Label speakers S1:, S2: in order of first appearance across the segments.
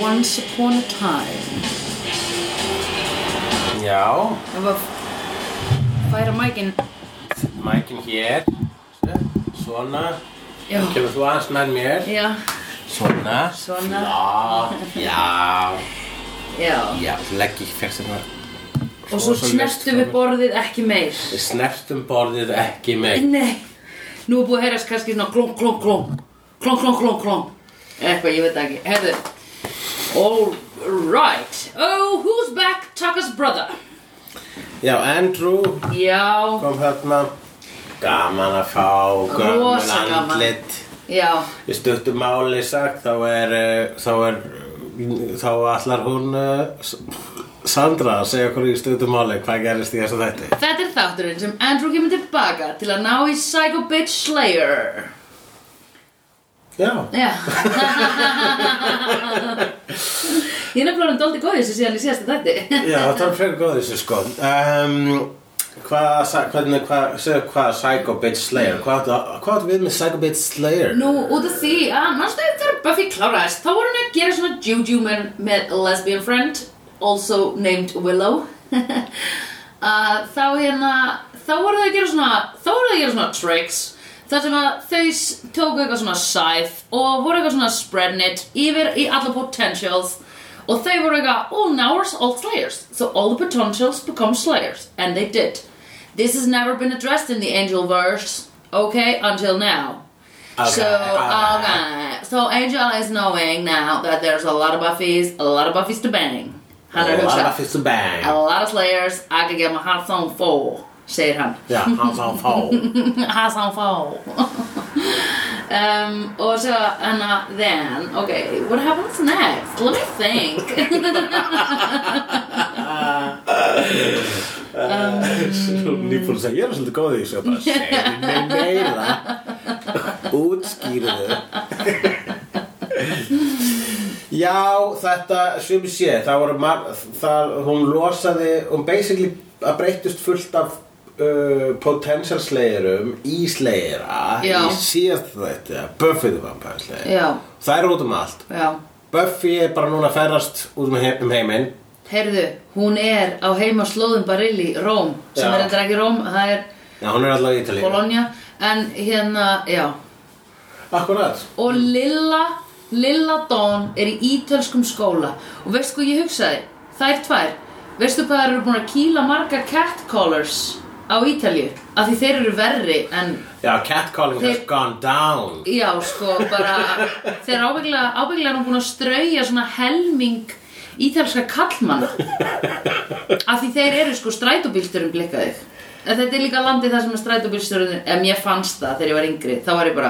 S1: Once Upon a Time
S2: Já,
S1: ef að færa mækin
S2: mækin hér, svona,
S1: já,
S2: kemur þú aðeins nær mér,
S1: já,
S2: svona,
S1: Svona.
S2: já, já,
S1: já
S2: já, legg ég fyrst hérna,
S1: og svo
S2: Og svo
S1: snertum við
S2: leggst-
S1: borðið ekki meir
S2: við snertum borðið ekki meir,
S1: nei, nú er búið að heyrast kannski svona klóng, klóng, klóng klóng, klóng, klóng, klóng eitthvað, ég veit ekki, herðu all right oh, who's back, Taka's brother
S2: já, Andrew
S1: já,
S2: kom hérna, gaman að fá, gömul
S1: Rosa gaman.
S2: andlit,
S1: já,
S2: í stuttum máli sagt, þá er, eh, þá er, þá allar hún, eh, S- Sandra, að segja okkur í stuttum máli, hvað gerist í þessu þætti?
S1: þetta er þátturinn sem Andrew kemur tilbaka til að ná í Psycho Bitch Slayer
S2: Já,
S1: Já Ég er nefnilega hann dóldi góðið þessu síðan í síðasta þætti
S2: Já, það er frekar góð í þessu sko um, Hvað, sa- hvernig, hvað, segðu hvað Psycho Bitch Slayer Hvað áttu hvað áttu við með Psycho Bitch Slayer?
S1: Nú, út af því að mannstu þegar Buffy kláraðist þá voru hann að gera svona juju með, með lesbian friend also named Willow að þá hérna þá voru þau að gera svona þá voru þau að gera svona tricks þar sem að þau s- tóku eitthvað svona scythe og voru eitthvað svona spreading it yfir í alla potentials og þau voru eitthvað oh now we're all slayers so all the potentials become slayers and they did this has never been addressed in the angel verse okay until now
S2: Okay, Ah,
S1: so, um,
S2: okay.
S1: okay. So Angel is knowing now that there's a lot of Buffys, a lot of Buffys to bang.
S2: oh,
S1: Hann er að
S2: Lala
S1: hugsa.
S2: fyrst og bang
S1: A lot of Slayers, I can get my hot on full, segir hann.
S2: Já, hann sá fá
S1: hot on full. um, og svo, and uh, then, okay, what happens next? Let me think.
S2: Nýbúin að segja, ég er svolítið góð í þessu Ég bara segir mig meira Útskýrðu Já, þetta sem sé, það voru mar, það, hún losaði, hún basically að breyttist fullt af uh, potential slayerum í slayera
S1: Já.
S2: í síðast þetta, Buffy the Vampire Slayer
S1: Já.
S2: það er út um allt
S1: Já.
S2: Buffy er bara núna að ferðast út um, he- um heiminn
S1: Heyrðu, hún er á heima slóðum Barilli, Róm, sem
S2: Já.
S1: er endur ekki Róm, það er
S2: Já, hún er allavega í Ítalíu
S1: Bologna, en hérna, já,
S2: Akkurat
S1: og Lilla Lilla Dawn er í ítölskum skóla og veist hvað ég hugsaði þær tvær, veistu hvað þær eru búin að kýla marga catcallers á Ítalju, af því þeir eru verri en
S2: Já, catcalling has
S1: Þeir-
S2: gone down
S1: já sko bara þeir ábygglega, ábygglega eru búin að strauja svona helming ítalska kallmanna af því þeir eru sko strætóbílstjórum blikkaði en þetta er líka landið þar sem að strætóbílstjórunir ef mér fannst það þegar ég var yngri þá var ég bara,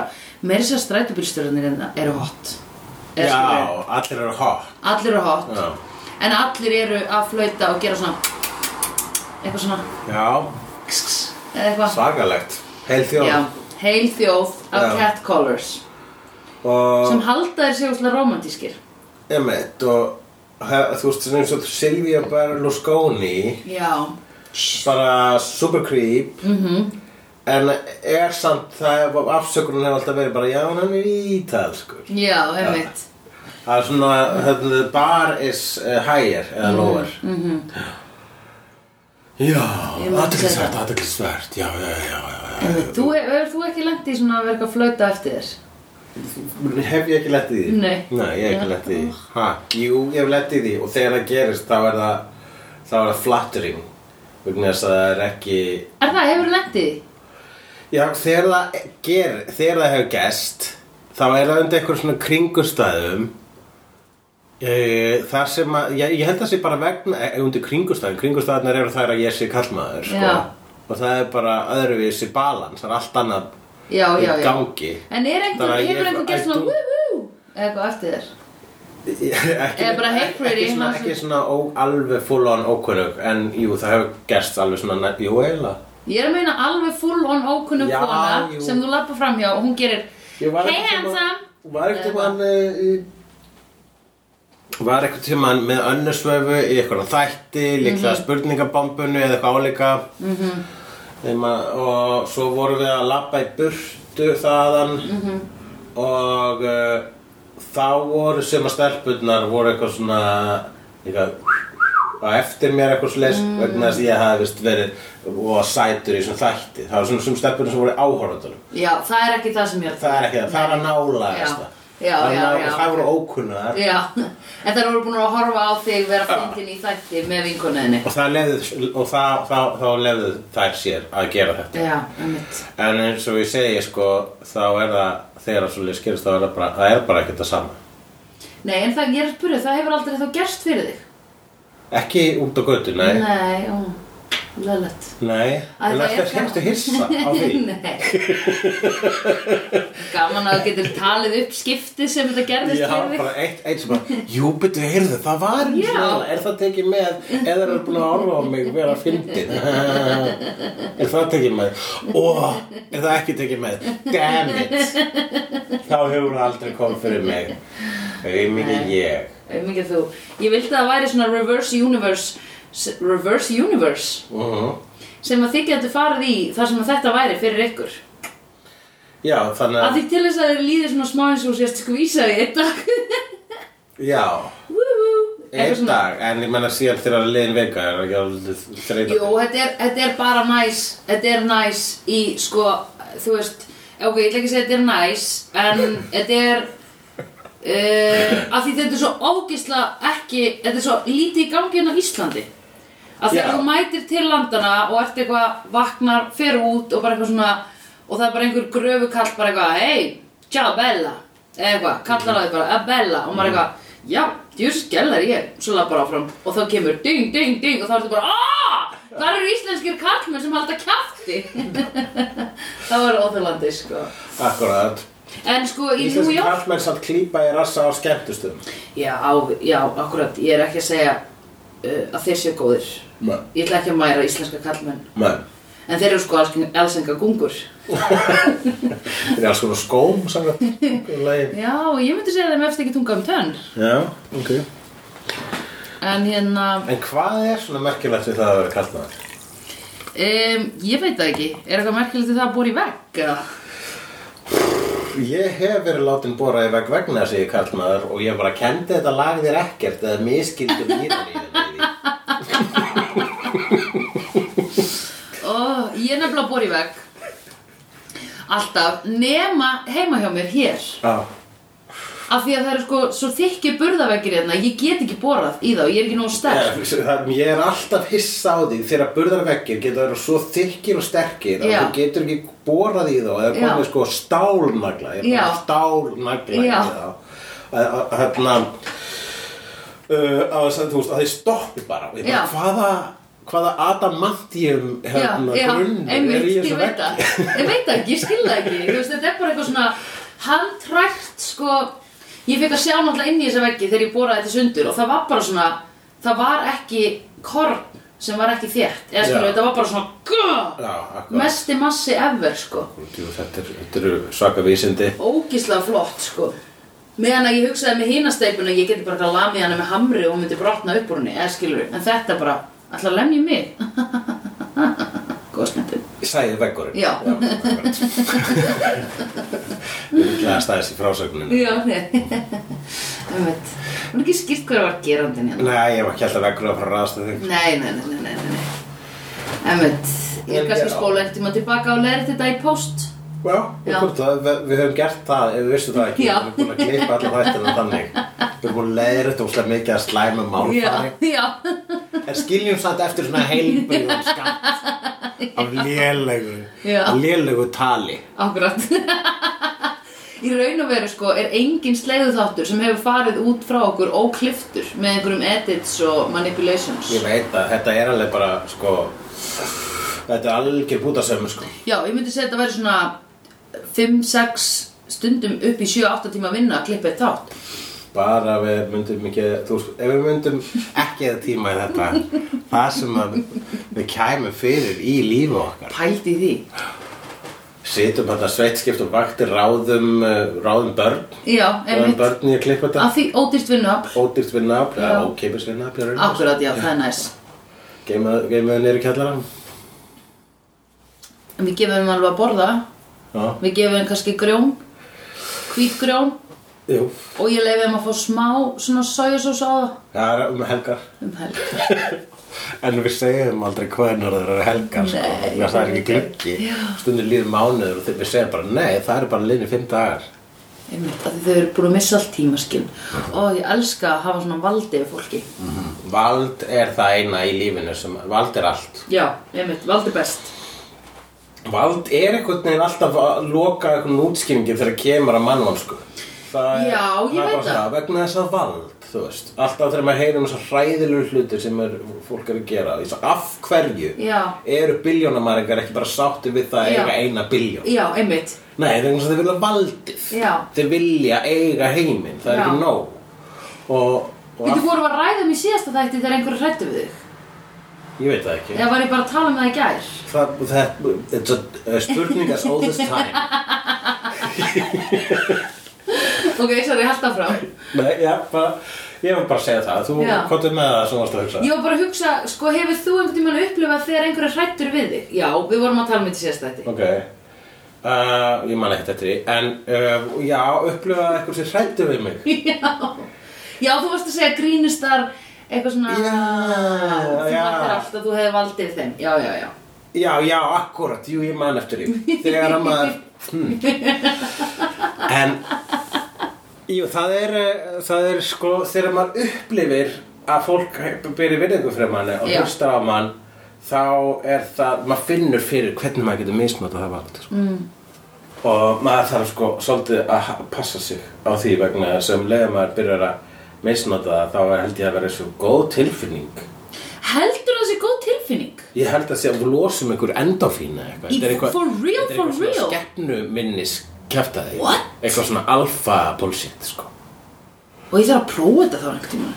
S1: meiri sér strætóbílstjórunir hérna eru hot Eða skilurðu,
S2: Já, allir eru hot
S1: allir eru hot
S2: Já.
S1: en allir eru að flauta og gera svona eitthvað svona
S2: Já,
S1: kss, kss, eða eitthvað
S2: svakalegt Heil þjóð
S1: Já, heil þjóð af
S2: Já.
S1: catcallers
S2: Og
S1: sem halda þér sér romantískir
S2: Emmett og he- þú veist svona eins og Silvia Berlusconi
S1: já,
S2: bara super creep mm
S1: Mhm.
S2: -hmm. en er samt það afsökunum hefur alltaf verið bara já hann er ítalskur
S1: já, einmitt
S2: það er svona hérna, the bar is uh, higher
S1: Mhm,
S2: eða lower mm -hmm. já,
S1: Ég man
S2: aðteklisvert
S1: þetta.
S2: aðteklisvert já, já, já, já,
S1: Einmitt. þú er, er þú ekki lengt í svona að vera eitthvað að flauta eftir þér
S2: já. hef ég ekki lett í því?
S1: Nei.
S2: ég hef ekki lett í því ha, jú, ég hef lett í því og þegar það gerist þá er það þá er það flattering vegna þess að það er ekki
S1: er það, hefur lengt í því?
S2: já, þegar það ger þegar það hefur gerst þá er það undir einhver svona kringustæðum Eh, Það sem að, ég, ég held að sé bara vegna eh, undir kringustæðin, kringustæðinar eru þær að ég sé kallmaður sko.
S1: Já.
S2: og það er bara öðruvísi balans, það er allt annað
S1: já, já,
S2: í
S1: já
S2: gangi
S1: en er einhver,
S2: Þannig að ég-
S1: hefur einhver gert
S2: I
S1: svona
S2: don't-
S1: woo-woo eitthvað eftir þér
S2: ekki,
S1: Eða bara, hey,
S2: ekki-
S1: pretty,
S2: ekki svona,
S1: hann
S2: ekki svona ó, alveg full on ókunnug en jú, það hefur gerst alveg svona nær- jú, eiginlega
S1: Ég er að meina alveg full on ókunnum
S2: Já,
S1: kona
S2: jú.
S1: sem þú lappa framhjá og hún gerir
S2: Ég var
S1: Hey
S2: einhvern tímann-
S1: handsome
S2: Var ekkert tímann uh, í- Var ekkert tímann með önnursvöfu í eitthvað þætti, líklega
S1: Mhm.
S2: spurningabombunni eða eitthvað álíka mm og
S1: Mhm.
S2: svo vorum við að labba í burtu þaðan og uh, þá voru sem að stelpurnar voru eitthvað svona eitthvað á eftir mér eitthvað slis
S1: Mhm.
S2: vegna þess að ég hafði vist verið og sætur í svona þætti það var svona sem stelpurnar sem voru áhorfandunum
S1: já, það er ekki það sem ég er að
S2: það er ekki það, það er að nála sko.
S1: Já. Já, já, já.
S2: það voru ókunnar
S1: Já, en þær voru búin að horfa á þig vera fyndin í þætti með vinkonuðinni
S2: og það lefðu og það, það, þá lefðu þær sér að gera þetta
S1: Já, einmitt
S2: en eins og ég segi sko þá er það þegar svo leið skilist þá er það bara, það er bara ekkert það sama
S1: Nei, en það ég er að spyrja, það hefur aldrei þá gerst fyrir þig
S2: ekki út á götu, nei
S1: Nei, ó, leðlegt
S2: nei,
S1: Æ,
S2: en
S1: það er
S2: alltaf
S1: gaman.
S2: skemmstu hissa á því
S1: Nei Gaman að þú getur talið upp skiptið sem þetta gerðist
S2: Já,
S1: fyrir
S2: bara
S1: þig
S2: eitt, eitt sem bara, jú, betur, heyrðu, það var eins og
S1: Já.
S2: það, er það tekið með, eða er það búin að orfa á mig vera fyndin, er það tekið með, ó, er það ekki tekið með, damn it, þá hefur það aldrei komið fyrir mig, auðvitað ég,
S1: Mikið þú Ég vildi að það væri svona reverse universe s- Reverse universe
S2: uh
S1: sem að þið getur farið í þar sem að þetta væri fyrir ykkur
S2: já, þannig
S1: að
S2: að,
S1: því til þess að þið líður svona smá eins og þú sést skvísa í einn dag
S2: já,
S1: Woohoo Eitthvað
S2: einn
S1: svona-
S2: dag, en ég menna síðan þegar liðin vika, er ekki alveg þreytandi.
S1: Jú, þetta er, þetta er bara næs Þetta er næs í sko Þú veist, ok, ég ætla ekki að segja þetta er næs En þetta er uh, Af því þetta er svo ógisla ekki Þetta er svo lítið í gangi en á Íslandi Af því
S2: Já.
S1: að þú mætir til landana Og ert eitthvað vaknar, fer út Og bara eitthvað svona Og það er bara einhver gröfukall bara eitthvað Hei, ciao Bella Eða eitthvað, kallar á því bara, að Bella Og maður eitthvað, já, djús, gellar ég Svo laði bara áfram Og þá kemur ding, ding, ding Og þá ertu bara, aaaah Þar eru íslenskir kallmenn sem halda kjafti Það var óþjólandi, sko
S2: Akkurat.
S1: En sko, í New
S2: Íslenski
S1: York
S2: kallmenn samt klípa í rassa á skemmtustöðum.
S1: Já, á- já, akkurat, ég er ekki að segja uh, að þeir séu góðir
S2: Nei.
S1: Ég ætla ekki að mæra íslenska kallmenn
S2: Nei.
S1: En þeir eru sko alls, alls enga gungur
S2: Það er alls konar skóm, samkvæmt einhverju lagi.
S1: Já, ég myndi segja að þeim efst ekki tunga um tönn
S2: Já, ok.
S1: En hérna,
S2: En hvað er svona merkilegt við það að vera kallmaður?
S1: um, ég veit það ekki Er eitthvað merkilegt við það að búa í vegg? eða?
S2: Ég hef verið látin bóra í veg vegna þess að ég er kallmaður og ég bara kendi þetta lag þér ekkert eða miskildur mýran í því.
S1: Ó, ég er nefnilega að búa í vegg Alltaf, nema heima hjá mér hér
S2: Já.
S1: Af því að það eru sko svo þykki burðaveggir hérna Ég get ekki borað í þá, ég er ekki nógu sterk
S2: Ég, það- ég er alltaf hissa á því þegar burðarveggir geta verið svo þykkir og sterkir að
S1: Já.
S2: þú getur ekki borað í þá eða komið
S1: Já.
S2: sko stálnagla ég er
S1: Já.
S2: bara stálnagla í
S1: Já.
S2: þá Að- að- hérna uh, að þess að þú veist að þið stoppi bara, Ég bara
S1: Já.
S2: hvaða hvaða adamantium hérna, grunnur
S1: einmitt,
S2: er í
S1: ég
S2: þessu
S1: veit
S2: vegg
S1: það Ég veit það ekki, ég skil það ekki Þú veist, þetta er bara eitthvað svona handtrækt sko Ég fekk að sjá náttúrulega inn í þessa veggi þegar ég boraði þetta sundur og það var bara svona það var ekki korn sem var ekki þétt eða skilur,
S2: Já.
S1: þetta var bara svona
S2: Já,
S1: gah,
S2: akkurat.
S1: mesti massi ever sko
S2: Jú, þetta er- þetta eru svaka vísindi
S1: ógíslega flott sko meðan að ég hugsaði með hínasteipuna ég geti bara eitthvað lamið hana með hamri og hún myndi brotna upp úr henni eða skilur en þetta bara alltaf lemja mig góð snettum
S2: Sæði veggurinn
S1: Já.
S2: Við erum glæðast aðeins í frásögninu
S1: já um veit hún er ekki skýrt hver var gerandinn hérna
S2: Nei, ég var ekki alltaf veggur að fara að ráðast að þig
S1: nei, nei, nei, nei, nei, nei, nei. um veit ég er
S2: En
S1: kannski
S2: já.
S1: spóla eftir maður tilbaka og leir þetta í post
S2: Já,
S1: Já.
S2: já. Það, við, við höfum gert það ef við vissum það ekki
S1: Já.
S2: Við erum búin að gleypa alla þættina þannig Við erum búin að leiðir þetta úslega mikið að slæma
S1: já,
S2: málfari
S1: já,
S2: En skiljum samt eftir svona heilbrigðan skatt Af lélegu
S1: Já.
S2: af Lélegu tali
S1: akkurat Í raun og veru sko er engin sleiðu þáttur sem hefur farið út frá okkur ókliftur með einhverjum edits og manipulations
S2: Ég veit að þetta er alveg bara sko Þetta er algjör bútasöfum sko
S1: Já, ég myndi segja að þetta væri svona 5-6 stundum upp í 7-8 tíma að vinna að klippa eitt þátt
S2: Bara við myndum ekki, þú sko, ef við myndum ekki að tíma í þetta Það sem að við kæmum fyrir í lífi okkar
S1: Pælt í því
S2: Situm þetta sveitskipt og vaktir ráðum, uh, ráðum börn
S1: Já,
S2: Ráðum
S1: einmitt
S2: börn í að klippa þetta
S1: Af því ódýrt vinnuafl
S2: Ódýrt vinna afl,
S1: Já.
S2: eða ókeipis vinna afl
S1: Akkurat, já, það er næs
S2: Geimaðu niður í kjallarann
S1: En við gefum þeim alveg að borða
S2: Já,
S1: Við gefum þeim kannski grjón Hvít grjón
S2: Jú,
S1: og ég leiði þeim að fá smá svona sojasós á það
S2: það er um helgar
S1: um helg
S2: En við segjum aldrei hvenar þeir eru helgar sko,
S1: Nei.
S2: vegna það er ekki gluggi
S1: Já.
S2: Stundum líður mánuður og þeir- við segjum bara Nei, það eru bara liðni fimm dagar
S1: einmitt, af því þau eru búin að missa allt tímaskinn og ég elska að hafa svona valdi yfir fólki Mm.
S2: Vald er það eina í lífinu sem, vald er allt
S1: já, einmitt, valdi best
S2: Vald er einhvern veginn alltaf að loka einhvern útskýringin þegar kemur að mannvansku það er,
S1: Já, ég
S2: það er
S1: veit
S2: bara
S1: það.
S2: Vegna þess að vald, þú veist Alltaf þegar maður heyrir um þessar hræðilegu hlutir sem er, fólk er að gera Þess, Af hverju
S1: Já.
S2: eru biljónamæringar ekki bara sátti við það að
S1: Já.
S2: eiga eina biljón
S1: já, einmitt,
S2: Nei, það er eins og þeir vilja valdið
S1: Já.
S2: Þeir vilja eiga heiminn, það er
S1: Já.
S2: ekki nóg Og, og
S1: við þú vorum að ræða mér síðasta þætti þegar einhver hrættu við þig
S2: ég veit það ekki
S1: eða var ég bara að tala með það í gær
S2: Það, það, it's a, a spurning as old as time
S1: ok, sorry, held það frá
S2: Nei, já, bara, ég var bara að segja það Þú,
S1: Já.
S2: hvað er með það sem varst að hugsa?
S1: ég var bara að hugsa, sko, hefur þú einhvern tímann upplifað þegar einhver er hrættur við þig já, við vorum að tala með þetta síðasta þætti
S2: Ok uh, Ég man ekkert eftir því En, uh, já, upplifaði eitthvað sem hrættu við mig
S1: já, þú varst að segja grínustar eitthvað svona
S2: Já,
S1: þú
S2: já.
S1: mættir alltaf, þú hefði valdið þeim já, já, já
S2: Já, já, akkurat, jú, ég man eftir því Þegar að maður hmm. En Jú, það er, eh, það er sko Þegar maður upplifir að fólk byrja virðingu fyrir manni og
S1: Já.
S2: hlustar á mann þá er það, maður finnur fyrir hvernig maður getur misnota það vald sko. mm. og maður þarf sko svolítið að ha- passa sig á því vegna þess að um leiðum maður byrjar að misnota það þá er- held ég að vera svo góð tilfinning
S1: heldur það sé góð tilfinning
S2: Ég held að sé að við losum einhver endorfín eða eitthvað.
S1: Í-
S2: Þetta er eitthvað
S1: for real,
S2: þetta er
S1: for
S2: eitthvað svona
S1: real?
S2: Skeppnu minnis kjaftaði.
S1: What?
S2: Eitthvað svona alfa bullshit, sko.
S1: og ég þarf að prófa þetta þá einhvern tímann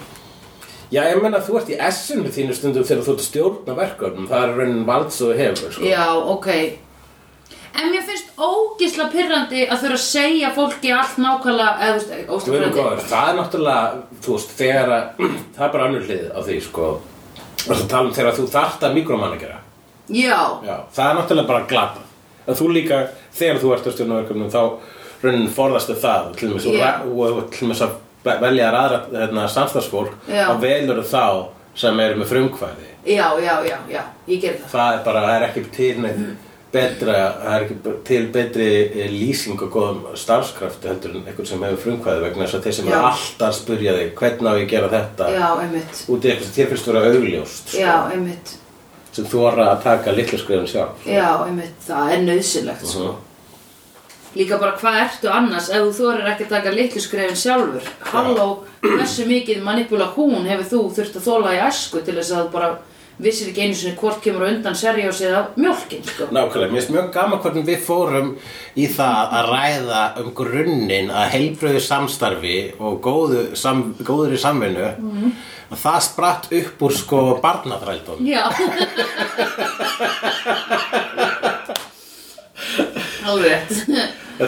S2: Já, ég meina þú ert í S-inu þínu stundum þegar þú ert að stjórna verkefnum. Það er raunin vald sem þú hefur, sko.
S1: já, ok en mér finnst ógisla pyrrandi að þurfa að segja fólki allt nákvæmlega eða, þú veist, eh,
S2: Þú
S1: ógisla
S2: veitum
S1: pyrrandi
S2: hvað, það er náttúrulega, þú veist, þegar að, það er bara önnur hlið á því, sko. Það er að tala um þegar þú þart að mikromanna gera.
S1: já,
S2: Já, það er náttúrulega bara glata að þú líka, þegar þú ert að stjórna verkefnum þá raunin forðastu það til dæmis
S1: Já.
S2: yeah. og og til dæmis að ve- velja þér aðra hérna, samstagsfólk
S1: Já.
S2: þá velur þá sem eru með frumkvæði
S1: já, já, já, já ég ger það
S2: það er bara, það er ekki til neitt
S1: Mm.
S2: betra, það er ekki til betri eh, lýsing og góðum starfskrafti heldur en einhvern sem hefur frumkvæði vegna þess að þeir sem
S1: Já.
S2: eru alltaf að spyrja þig hvernig á ég að gera þetta
S1: já, einmitt
S2: út í eitthvað sem þér finnst vera augljóst
S1: já, einmitt
S2: sem þú voru að taka litlu skrifin sjálf
S1: Já, einmitt, það er nöðsynlegt sko.
S2: Svo.
S1: Líka bara hvað ertu annars ef þú þorir ekki að taka litlu skrefin sjálfur Halló, hversu mikið manipula hún hefur þú þurft að þóla í æsku til þess að þú bara vissir ekki einu sinni hvort kemur á undan serjós eða mjólkin sko.
S2: Nákvæmlega, mér finnst mjög gaman hvernig við fórum í það að ræða um grunninn að heilbröðu samstarfi og góðu, sam, góður í samvinnu
S1: Mhm.
S2: og það spratt upp úr sko barnaþrældum
S1: Já Alveg rétt.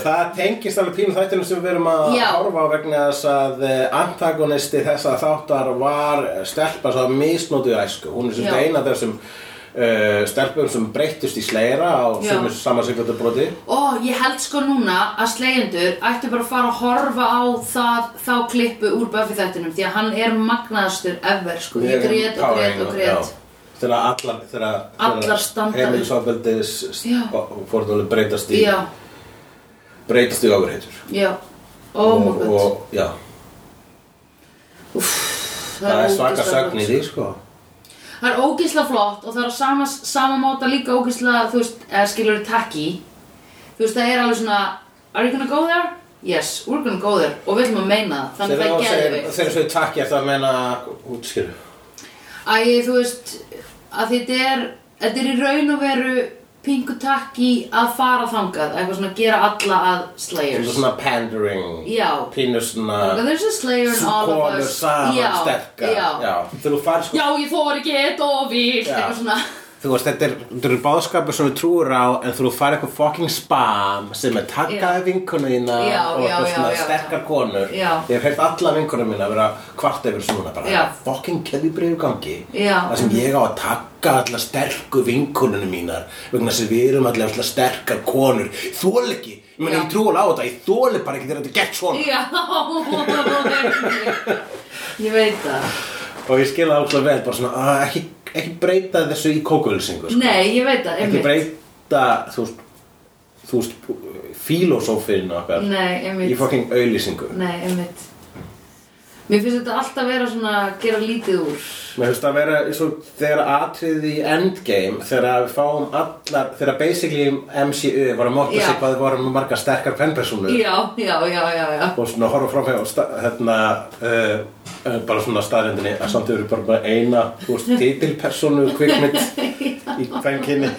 S2: Það tengist alveg pínu þættinu sem við erum að
S1: Já.
S2: horfa á vegna þess að eh, antagonisti þessa þáttar var stelpa svo misnótið æsku hún er sem
S1: Já.
S2: þetta eina af þessum uh, stelpum sem breyttust í sleira á
S1: Já.
S2: sem samansýkvöldu broti
S1: Ó, ég held sko núna að slegjendur ættu bara að fara að horfa á það, þá klippu úr Buffy þættinum því að hann er magnaðastur ever sko, ég grét og grét og grét
S2: Þegar allar, þegar
S1: Allar standa upp.
S2: Heimilisofbeldis
S1: Já.
S2: fórnum breytast í
S1: Já,
S2: breytast í ofurheitur
S1: já, oh my god
S2: og, já, það er svaka
S1: ógeðslega
S2: sögn í því sko
S1: flott. Það er ógisla flott og það er á sama, sama máta líka ógisla, þú veist, eða skilur takki Þú veist, það er alveg svona, are you gonna go there? Yes, we're gonna go there og við viljum að meina það, þannig
S2: Þegar
S1: að
S2: þú
S1: það er
S2: segir,
S1: geðveikt.
S2: þegar þau takk ég eftir að meina útskýru
S1: Æ, þú veist, að þetta er, þetta er í raun og veru pingu takki að fara þangað, eitthvað svona gera alla að
S2: Þetta er
S1: slayers.
S2: svona pandering
S1: Já.
S2: Pínu svona
S1: Það er svona slayer in all of
S2: Konur
S1: us.
S2: saman
S1: já,
S2: sterkar
S1: Já,
S2: Þegar þú far sko
S1: já ég þóri ekki eitt og vilt,
S2: Já.
S1: eitthvað svona.
S2: þú veist, þetta er, þetta er báðskapur sem þú trúir á en þú farið eitthvað fucking spam sem er takkaði
S1: Já.
S2: vinkonu þína
S1: Já,
S2: og
S1: já,
S2: eitthvað
S1: já,
S2: svona
S1: já.
S2: sterkar konur
S1: Já.
S2: ég hef heilt alla vinkonum mína að vera kvart yfir svona bara
S1: Já.
S2: fucking keðjubrið í gangi
S1: Já.
S2: það sem ég á að takka alla sterku vinkonunum mínar vegna þess að við erum allir allar sterkar konur þól ekki, ég
S1: Já.
S2: meina ég trúi alveg á þetta ég þól bara ekki þegar þetta er gett svona
S1: Já, ég veit það.
S2: og ég skil það óslega vel bara svona "Ah, ekki, ekki breyta þessu í sko." kókuðulsingu
S1: Nei, ég veit það,
S2: ekki
S1: einmitt.
S2: breyta þú veist þú veist, filósófinn okkar
S1: Nei,
S2: í
S1: einmitt.
S2: fucking auðlýsingu
S1: Nei, einmitt. Mér finnst þetta alltaf vera svona að gera lítið úr.
S2: mér finnst að vera svo, þegar atriðið í Endgame þegar við fáum allar þegar basically MCU var að móta
S1: Já.
S2: sig hvað þið vorum með margar sterkar pennpersonur
S1: Já, já, já, já, já.
S2: og svona horfa framfæg og sta- hérna uh, uh, bara svona staðrendinni að samt eru bara með eina þú veist, titilpersonu kvikmynd í fenginni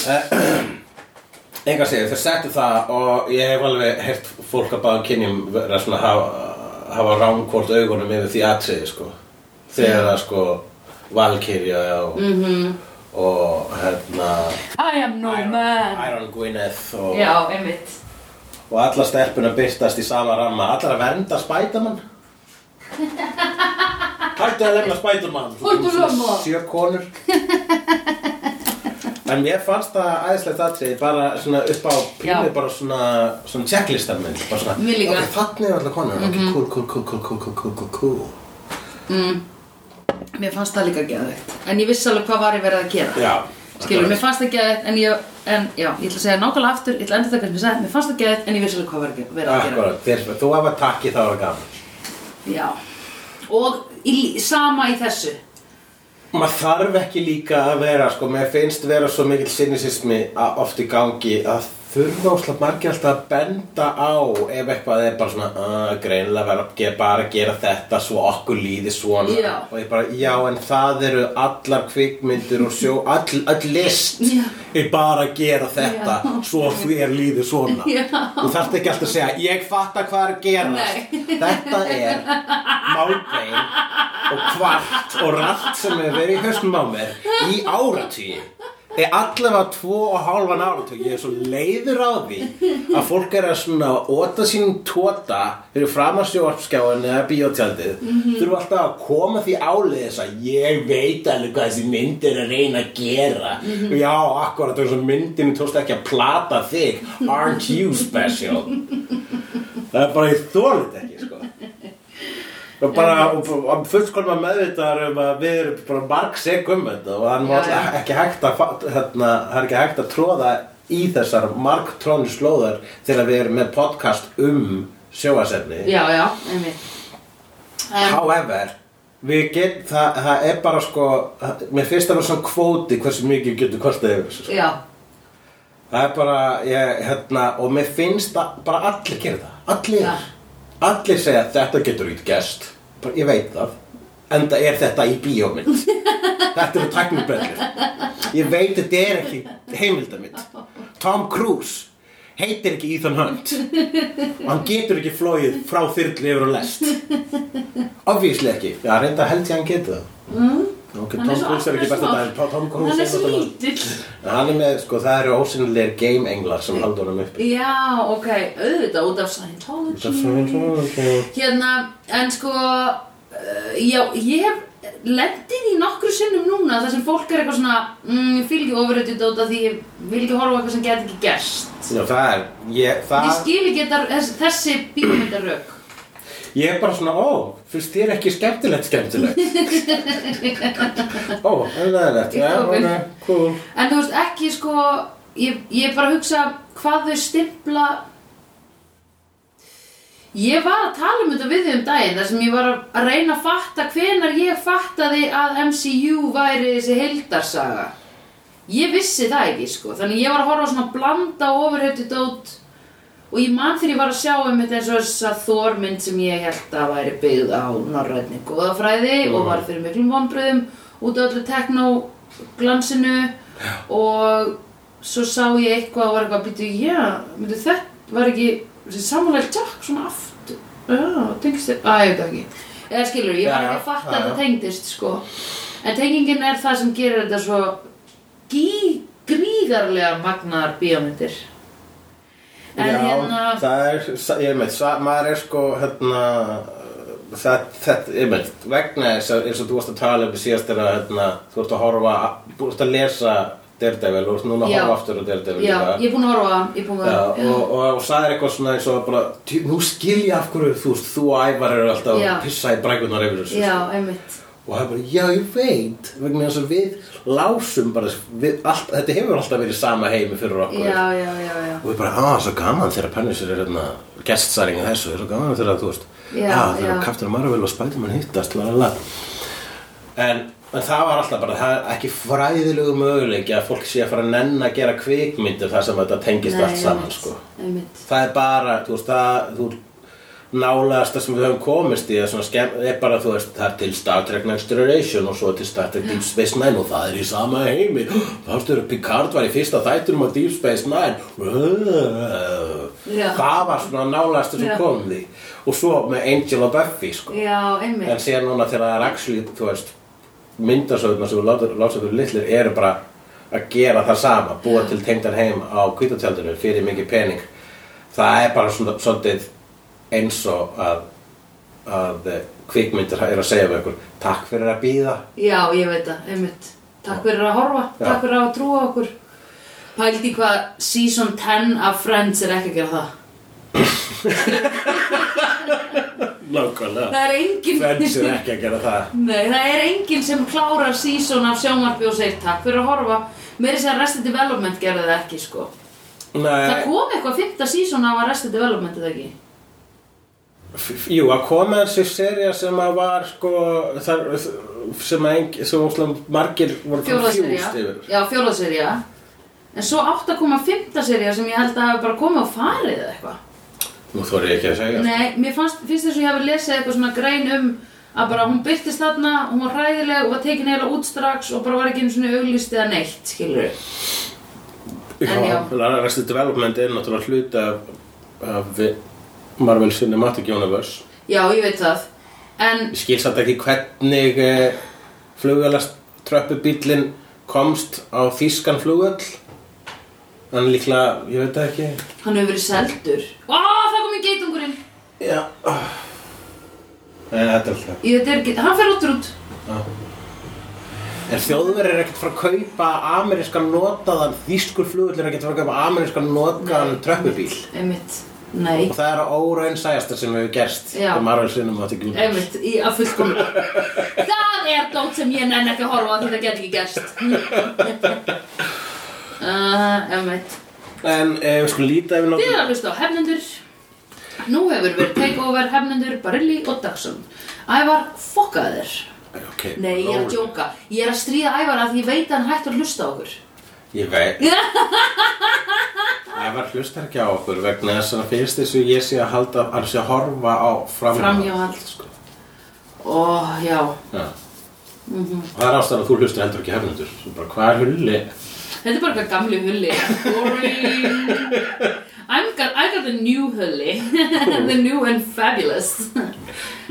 S2: Eh, enga segir, þau settu það og ég hef alveg hert fólk að báða kynjum vera svona hafa, hafa rámkvort augunum yfir því atriði sko þegar það sko Valkyria og, mm
S1: Mhm.
S2: -hmm. og hérna
S1: I am no Oh, man.
S2: Iron Gwyneth og
S1: Já, einmitt.
S2: og alla stelpuna byrtast í sama ramma allar að vernda Spiderman hættu að lefna Spiderman Þú
S1: Hættu að
S2: svona
S1: lemja.
S2: sjö konur en mér fannst það æðislegt aðtrið bara svona upp á pínu
S1: Já.
S2: bara svona, svona checklistar minn bara svona,
S1: Mér líka. Mhm.
S2: ok, þannig er allar konur ok, cool, cool, cool, cool, cool, cool, cool, cool, cool Mm.
S1: Mér fannst það líka geðveikt. En ég vissi alveg hvað var ég verið að gera.
S2: já,
S1: Skilur, mér fannst það geðveikt, en ég, en já, ég ætla að segja nákvæmlega aftur, ég ætla að enda það hvernig ég sagði, mér fannst það geðveikt, en ég vissi alveg hvað var ég verið að gera.
S2: akkurat, þér, þú hafa takki þá er gaman
S1: Já. Og í, sama í þessu.
S2: maður þarf ekki líka að vera sko, mér finnst vera svo mikill sinnisismi oft í gangi að þurfa óslega margir alltaf að benda á ef eitthvað er bara svona uh, greinlega vera að gera, bara að gera þetta svo okkur líði svona
S1: Já.
S2: og ég bara, já en það eru allar kvikmyndir og sjó all, all list
S1: Já.
S2: er bara að gera þetta
S1: Já.
S2: svo þér líði svona
S1: Já.
S2: þú þarft ekki alltaf að segja ég fatta hvað er að gerast
S1: Nei.
S2: þetta er málbein og kvart og rætt sem hefur verið í hausnum á mér í áratugin er allavega tvo og hálfan áratug ég er svo leiður á því að fólk er að svona óta sínum tóta fyrir fram að sjóarpskjáin eða bíótjaldið þurfa alltaf að koma því áliðis að ég veit alveg hvað þessi mynd er að reyna að gera já, akkurat, þessu myndinu tókst ekki að plata þig aren't you special það er bara ég þólið ekki sko og bara og- og- og fullkomna meðvitaðar um að við erum bara marg segum þetta og hann var
S1: Já, já.
S2: ekki hægt að fa- hérna, það er ekki hægt að tróða í þessar margtrónu slóðar þegar við erum með podcast um sjóasefni
S1: Já, já, einmitt. En,
S2: however við get, það, það er bara sko mér finnst það vera svona kvóti hversu mikið getur kostið yfir sko.
S1: já,
S2: Það er bara, ég, hérna, og mér finnst að bara allir gera það, allir,
S1: Já.
S2: allir segja þetta getur ít gest, bara, ég veit það, enda er þetta í bíómynd, þetta eru tæknibrellir, ég veit þetta er ekki heimildamind, Tom Cruise heitir ekki Ethan Hunt og hann getur ekki flóið frá þyrlu yfir og lest, obvíslega ekki, já, reynda held ég að hann getur það. Mm. Ok,
S1: Hann er
S2: Tom
S1: svo
S2: Cruise er ekki besta
S1: afbrýðismár.
S2: dæmi, Tom Cruise
S1: hann er svo
S2: náttúrulega-
S1: lítill.
S2: En Hann er með, sko, það eru ósynilegir game englar sem haldur hann uppi.
S1: Já, ok, auðvitað, út af Scientology. Hérna, en sko, uh, já, ég hef lendið í nokkru sinnum núna þar sem fólk er eitthvað svona, mm, ég fylg ekki ofuröndið út af því ég vil ekki horfa á eitthvað sem get ekki gerst.
S2: Já, það er, ég,
S1: Ég
S2: það,
S1: skil ekki þetta, þess, þessi bíómyndarök.
S2: ég er bara svona, ó, finnst þér ekki skemmtilegt skemmtilegt? ó, en það er þetta, já,
S1: Ég
S2: ok, cool.
S1: En þú veist, ekki sko, ég, ég bara hugsa hvað þau stimpla... Ég var að tala um þetta við þau um daginn þar sem ég var að- að reyna að fatta hvenar ég fattaði að MCU væri þessi heildarsaga. Ég vissi það ekki sko, þannig ég var að horfa á svona blanda ofurhættu dót og ég man þegar ég var að sjá um þetta eins og þess að þórmynd sem ég held að væri byggð á norrænni góðafræði
S2: Mhm.
S1: og var fyrir miklum vonbröðum út af öllu teknoglansinu og svo sá ég eitthvað og var eitthvað að býta, já, myndi þetta var ekki þessi Samuel L. Jackson aftur, já, tengist þér, að ég veit það ekki eða skilur, ég var
S2: Já,
S1: ekki að fatta
S2: já,
S1: að
S2: já.
S1: þetta tengdist sko En tengingin er það sem gerir þetta svo gí, gríðarlega magnaðar bíómyndir. En
S2: Já,
S1: hérna,
S2: það er, ég veit, maður er sko, hérna, það, þetta, ég veit, vegna þess að, eins og þú varst að tala um síðast er að, hérna, þú ert að horfa, þú ert að lesa Daredevil og þú ert núna að
S1: Já.
S2: horfa aftur á Daredevil
S1: já,
S2: líka.
S1: ég er búin að horfa á það, ég er búin að...
S2: Já, og, og, og það er eitthvað svona eins og bara, "Djú, nú skil ég af hverju þú veist, þú og Ævar eru alltaf
S1: Já.
S2: að pissa í brækunar yfir þessu. sko.
S1: já, einmitt.
S2: Og það er bara, já, ég veit, vegna þess að við lásum bara, við, allt, þetta hefur alltaf verið sama heimi fyrir okkur.
S1: Já, já, já, já.
S2: Og við bara, að, svo gaman þegar Punisher er hérna gestsaringa þessu, svo gaman þegar þú veist,
S1: Já,
S2: að þegar
S1: já.
S2: Captain Marvel og Spiderman hittast, lalala. En, en það var alltaf bara, það er ekki fræðilegu möguleiki að fólk sé að fara að nenn að gera kvikmyndir þar sem þetta tengist
S1: Nei,
S2: allt saman,
S1: einmitt,
S2: sko.
S1: Einmitt,
S2: Það er bara, þú veist, það, þú nálegast það sem við höfum komist í, það er svona skemm, er bara, þú veist, það er til Star Trek Next Generation og svo til Star Trek Deep Space Nine og það er í sama heimi. Þáttu eru Picard var í fyrsta þættinum á Deep Space Nine.
S1: Já.
S2: Það var svona nálegast það
S1: Já.
S2: sem kom því. Og svo með Angel og Buffy, sko.
S1: já, einmitt.
S2: En síðan núna þegar það er actually, þú veist, myndasöðuna sem við lásum fyrir litlir eru bara að gera það sama, búa til tengdan heim á kvítatjaldinu fyrir mikið pening. Það er bara svona svolítið eins og að, að eh, kvikmyndir eru að segja við ykkur, takk fyrir að býða.
S1: Já, ég veit það, einmitt. Takk fyrir að horfa,
S2: Já.
S1: takk fyrir að trúa okkur. Pælt í hvað season 10 af Friends er ekki að gera það.
S2: Nákvæmlega.
S1: Það er engin...
S2: Fenns er ekki að gera það.
S1: Nei, það er enginn sem klárar season af sjónvarpi og segir takk fyrir að horfa. Meiri sem Arrested Development gerði það ekki, sko. Það
S2: Nei,
S1: kom eitthvað fymta season af Arrested Development, eða ekki?
S2: f- f- jú, að koma þessi serja sem að var sko, þar, sem að engi, sem óslega margir voru
S1: Fjólaðserja.
S2: confused yfir.
S1: Já, fjólaðserja. En svo átt að koma fymta serja sem ég held að hafi bara komið og farið eða eitthvað.
S2: Nú þorði ég ekki að segja.
S1: Nei, mér fannst, finnst þess að ég hafi lesið eitthvað svona grein um að bara hún byrtist þarna, hún var hræðileg og var tekin eiginlega út strax og bara var ekki einu svona auglýst eða neitt, skilur við. En já.
S2: já. Restu development er náttúrulega hluti af, af vi- Marvel Cinematic Universe.
S1: Já, ég veit það. En,
S2: Ég skil satt ekki hvernig eh, flugvælast tröppubílinn komst á þýskan flugvöll. En líklega, ég veit það ekki.
S1: hann hefur verið seldur. Ó, það kom í geitungurinn!
S2: Já. Nei, Eh, þetta er alltaf.
S1: Í þetta er geit... Hann fer óttur út.
S2: En þjóðverið er ekkert að fara að kaupa amerískan notaðan, þýskur flugvöll er ekkert að fara að kaupa amerískan notaðan tröppubíl.
S1: Einmitt. Nei.
S2: Og það er á óraunsæjasta sem hefur gerst
S1: Já.
S2: í Marvel Cinematic Universe.
S1: Einmitt, í að fullkomna. það er dótt sem ég nenn ekki að horfa á, þetta get ekki gerst. uh, einmitt.
S2: En ef við skulum líta yfir
S1: Þið
S2: nokkuð
S1: er að hlusta á hefnendur Nú hefur verið takeover hefnendur Barilli og Dagsson Ævar, fokkaði þér
S2: okay,
S1: Nei, ég er að djóka Ég er að stríða Ævar að því ég veit að hann hættur að hlusta á okkur
S2: Ég veit Ævar hlustar ekki á okkur vegna þess að fyrst þessu ég sé að halda að sé að horfa á framhjáhald
S1: Framhjáhald.
S2: sko.
S1: Ó, já
S2: Já
S1: Mhm.
S2: Það er ástæðan að þú hlustar heldur ekki hefnundur Svo bara, hvað er hulli?
S1: Þetta er bara eitthvað gamli hulli Boring I'm got, I got the new hulli The new and fabulous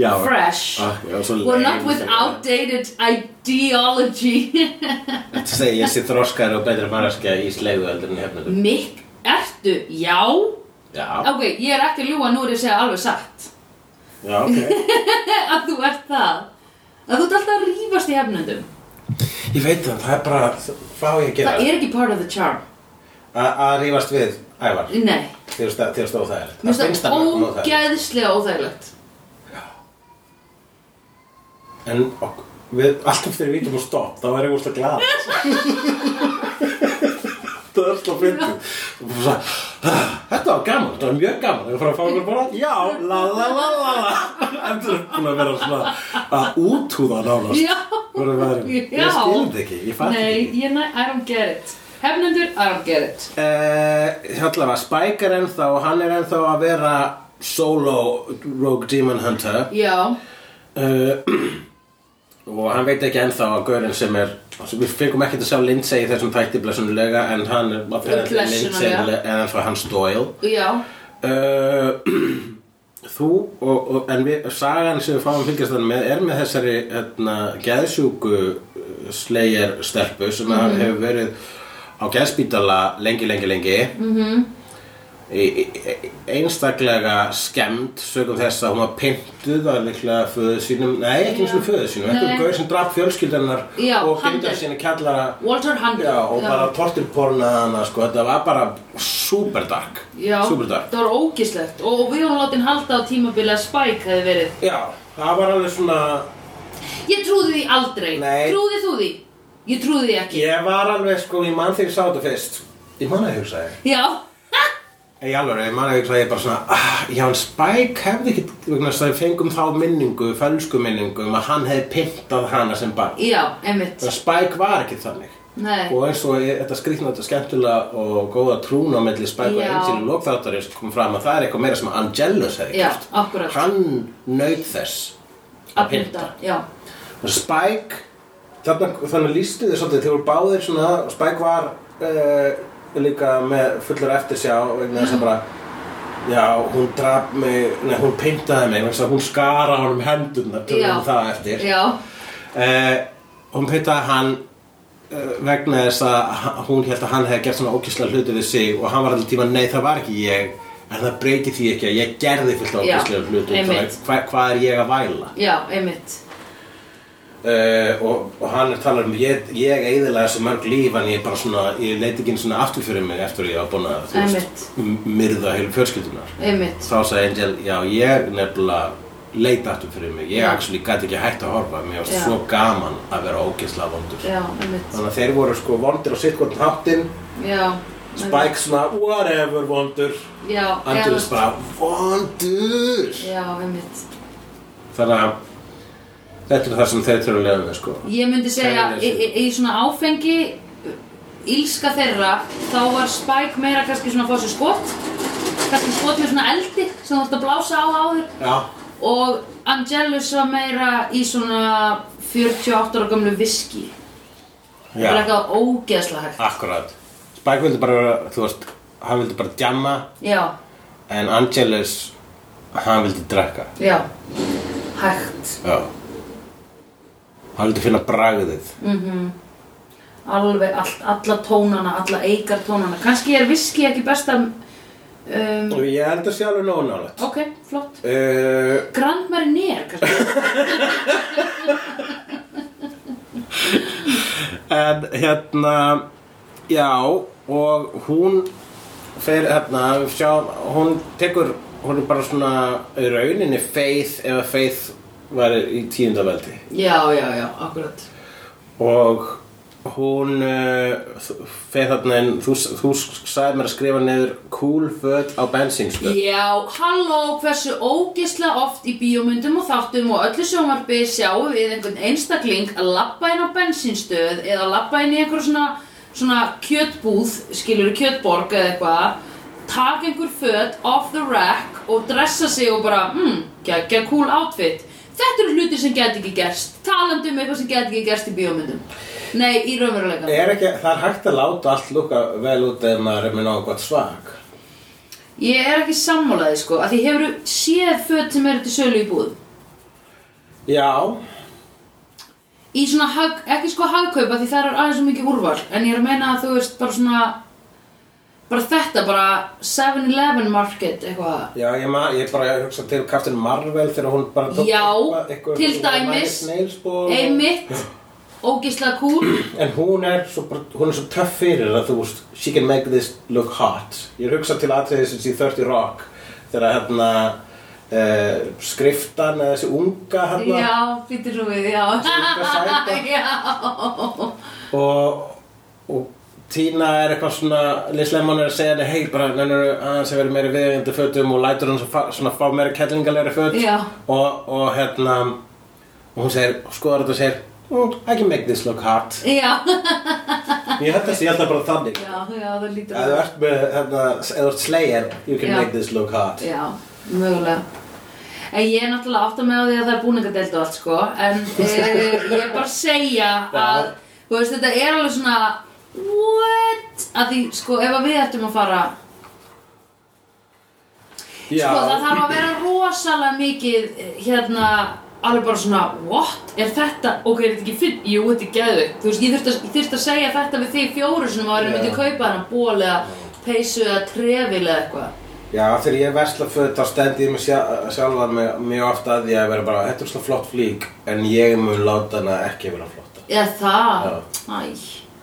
S2: Já,
S1: Fresh
S2: Ah, já, svo
S1: We're not
S2: leið.
S1: with outdated ideology
S2: Þetta segi ég sé þroskar og betri manneskja í sleiðu heldur en hefnundur
S1: Mikk, ertu, já
S2: Já,
S1: Ok, ég er ekki að ljúga nú er ég að segja alveg satt
S2: já, ok
S1: að þú ert það að þú ert alltaf að rífast í hefnendum
S2: Ég veit það, það er bara, hvað á ég að
S1: það
S2: gera?
S1: er ekki part of the charm
S2: Að að rífast við Ævar
S1: nei,
S2: Þegar stá- þegar stóð það er
S1: mér finnst það
S2: hann nóg það
S1: ógeðslega óþægilegt
S2: En ok, við, alltaf þegar við vitum að stopp, þá er ég úrst að glada. það er alltaf fyndið. Og bara svona, "Ah, Þetta var gaman, þetta var mjög gaman. Þegar við fara að fá okkur bara, já, la la la la la. Endur er búin að vera svona að útúða nánast.
S1: Já.
S2: Bara verið,
S1: Já.
S2: ég skildi ekki, ég fatt
S1: nei,
S2: ekki.
S1: ég, nei, I don't get it hefnendur, I don't get it
S2: Uh, allavega, Spike er ennþá, hann er ennþá að vera solo Rogue Demon Hunter.
S1: já,
S2: uh, og hann veit ekki ennþá að gaurinn sem er sem við fengum ekkert að sjá Lindsay í þessum tætti blessunulega en hann er apparently Lindsay
S1: blessunarlega.
S2: er ennþá hans Doyle
S1: já,
S2: uh, þú og, og en við, sagan sem við fáum fylgjast þannig með er með þessari hérna, geðsjúku Slayer stelpu sem
S1: Mhm.
S2: mm hefur verið á geðspítala lengi, lengi, lengi mm
S1: Mhm.
S2: -hmm. einstaklega skemmt sögum þess að hún var pyntuð að líklega föðu sínum, nei ekki eins og föðu sínum
S1: Nei.
S2: eitthvað gauð sem draf fjölskyldarinnar
S1: Já,
S2: og
S1: hann
S2: geymdi
S1: er-
S2: sína kjallara
S1: Walter Hunter
S2: Já, og bara tortilpornaði hana sko, þetta var bara super dark
S1: Já,
S2: super dark
S1: það var ógislegt og og við vorum látin halda á tímabili að Spike hefði verið
S2: Já, það var alveg svona
S1: Ég trúði því aldrei
S2: Nei.
S1: Trúði þú því? Ég trúði því ekki
S2: Ég var alveg sko, ég mann þegar ég sá þetta fyrst Ég mann að ég hugsaði
S1: Já,
S2: Ég alveg, ég mann að ég hugsaði bara svona ah, Já, en Spike hefði ekki vegna þess að við fengum þá minningu, fölsku minningu um að hann hefði pintað hana sem barn
S1: já, einmitt
S2: Þannig að Spike var ekki þannig
S1: Nei,
S2: Og eins og ég- þetta skrýtna, þetta skemmtilega og góða trún á milli Spike og
S1: Já.
S2: Angel í lokþáttarins kom fram að það er eitthvað meira sem Angelus hefði
S1: já,
S2: gert.
S1: akkurat
S2: Hann naut þess
S1: Að pynta, já
S2: Spike þarna, þannig lístu þið svolítið þeir voru báðir svona Spike var uh, líka með fullur eftir sjá vegna þess að bara já, hún draf mig, nei, hún pyntaði mig vegna þess að hún skara honum hendurna til
S1: Já.
S2: hún það eftir
S1: Já,
S2: uh, hún pyntaði hann uh, vegna þess að h- hún held að hann hefði gert svona ókíslega hluti við sig og hann var alltaf tíma, nei það var ekki ég en það breyti því ekki að ég gerði fullt af
S1: Já,
S2: ókíslega hluti
S1: einmitt.
S2: hvað hva er ég að væla
S1: já, einmitt
S2: Uh, og, og hann er talað um ég, ég eiðilega þessu mörg líf en ég bara svona, ég leiti ekki einu svona aftur fyrir mig eftir að ég var búin að þú veist, m- myrða heilu fjölskyldunar
S1: Einmitt
S2: þá sagði Angel, já ég nefnilega leita aftur fyrir mig, ég
S1: Já.
S2: actually gæti ekki hægt að horfa, mér var
S1: Já.
S2: svo gaman að vera ógeðslega vondur
S1: Já, einmitt
S2: þannig að þeir voru sko vondir á sitt hvort háttinn
S1: Já einmitt.
S2: Spike svona, whatever vondur
S1: Já,
S2: Angelus
S1: eða-
S2: bara, vondur
S1: Já, einmitt
S2: þannig að þetta er það sem þeir þurfa að lega við sko
S1: Ég myndi segja,
S2: Kæruleysi.
S1: í, í, í svona áfengi Ílska þeirra Þá var Spike meira kannski svona að fá sér skot Kannski skot með svona eldi Sem þú ert að blása á áður
S2: já,
S1: Og Angelus var meira í svona 48 ára gamlu viski Það
S2: já.
S1: var eitthvað ógeðslega hægt
S2: Akkurát Spike vildi bara, vera, þú veist, hann vildi bara djamma
S1: Já,
S2: En Angelus, hann vildi drekka
S1: já Hægt
S2: Já Hann vildi finna bragðið
S1: Alveg all, alla tónana, alla eikar tónana Kannski er viski ekki besta um,
S2: Og ég held að sé alveg nóg nálægt
S1: Ok, flott
S2: uh,
S1: Grand Marnier, kannski
S2: En hérna, já, og hún fer hérna, við sjáum, hún tekur, hún er bara svona í rauninni Faith ef að Faith var í tíundaveldi
S1: Já, já, já, akkurat
S2: og hún uh, feð þarna inn þú, þú sagði mér að skrifa niður cool föt á bensinstöð
S1: Já, halló, hversu ógislega oft í bíómyndum og þáttum og öllu sjónvarpi sjáum við einhvern einstakling að labba inn á bensinstöð eða labba inn í einhver svona, svona kjötbúð, skilur kjötborg eða eitthvað, taka einhver föt off the rack og dressa sig og bara, hmm, geggja cool outfit. Þetta eru hlutir sem get ekki gerst, talandi um eitthvað sem get ekki gerst í bíómyndum. Nei, í raunveruleika.
S2: er ekki, það er hægt að láta allt lúka vel út ef maður er með nógu gott svag
S1: Ég er ekki sammálaði sko, að því hefur séð föt sem eru til sölu í búðum.
S2: já,
S1: í svona, hag, ekki sko hagkaupa því það er aðeins svo mikið úrval en ég er að meina að þú veist bara svona bara þetta, bara 7-Eleven market eitthvað
S2: já ég, ma, ég bara hugsa til Captain Marvel þegar hún bara tók
S1: Já,
S2: eitthvað- eitthvað-
S1: til
S2: hún var
S1: dæmis.
S2: Miles Nails og-
S1: einmitt, ógislega cool
S2: en hún er svo, bara- hún er svo töff fyrir að þú veist she can make this look hot ég hugsa til atriðið sem sé 30 Rock þegar hérna Uh, skriftan eða þessi unga hérna,
S1: já, býttu svo við, já
S2: sæta.
S1: já,
S2: og, og Tína er eitthvað svona Liz Lemon er að segja henni hei bara nennur aðeins að vera meiri viðeigandi fötum og lætur hann svo fa- svona fá meiri kellingalegri föt
S1: Já.
S2: og, og hérna og hún segir, skoðar þetta og segir "Mm, I can make this look hot
S1: já,
S2: ég held að ég held að bara þannig
S1: já, já, það lítur
S2: ef þú ert með, hérna, ef þú ert slayer you can
S1: Já.
S2: make this look hot
S1: já, mögulega En ég er náttúrulega átt að með á því að það er búningadeild og allt sko En e, ég er bara að segja að
S2: Já.
S1: Þú veist þetta er alveg svona What? Að því sko ef að við ættum að fara
S2: já,
S1: Sko það þarf að vera rosalega mikið eh, hérna alveg bara svona, what, er þetta, ok, er þetta ekki finn, jú, þetta er geðvikt, þú veist, ég þurfti, að- ég þurfti að segja þetta við þig fjóru sinum árið yeah.
S2: Já.
S1: myndi kaupa hana ból eða peysu eða trefil eða eitthvað.
S2: Já, þegar ég vesla föt þá stend ég mig sjá- sjálfan mig mjög ofta að því að vera bara, þetta er svona flott flík en ég mun láta hana ekki vera flotta.
S1: Eða það,
S2: Já.
S1: æ,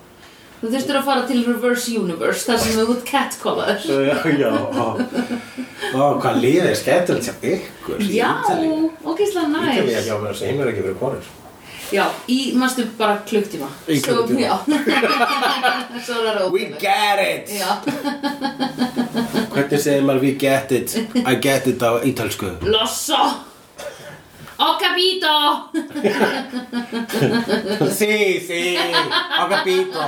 S1: þú þurftir að fara til Reverse Universe, þar sem þú ert catcallaður.
S2: Já, já, ó, ó hvað lífið er skemmtilegt sem ykkur. í
S1: Já,
S2: Ítalíu.
S1: ógeðslega næs.
S2: Ítalía hjá mér sem er ekki verið konur.
S1: Já, í, mannstu, bara klukktíma.
S2: Í klukkutíma.
S1: Svo, já. Svo er það
S2: We
S1: ógeðslega.
S2: get it!
S1: Já,
S2: Hvernig segir maður we get it? I get it á ítalsku.
S1: losso. Og capito.
S2: Sí, sí, á capito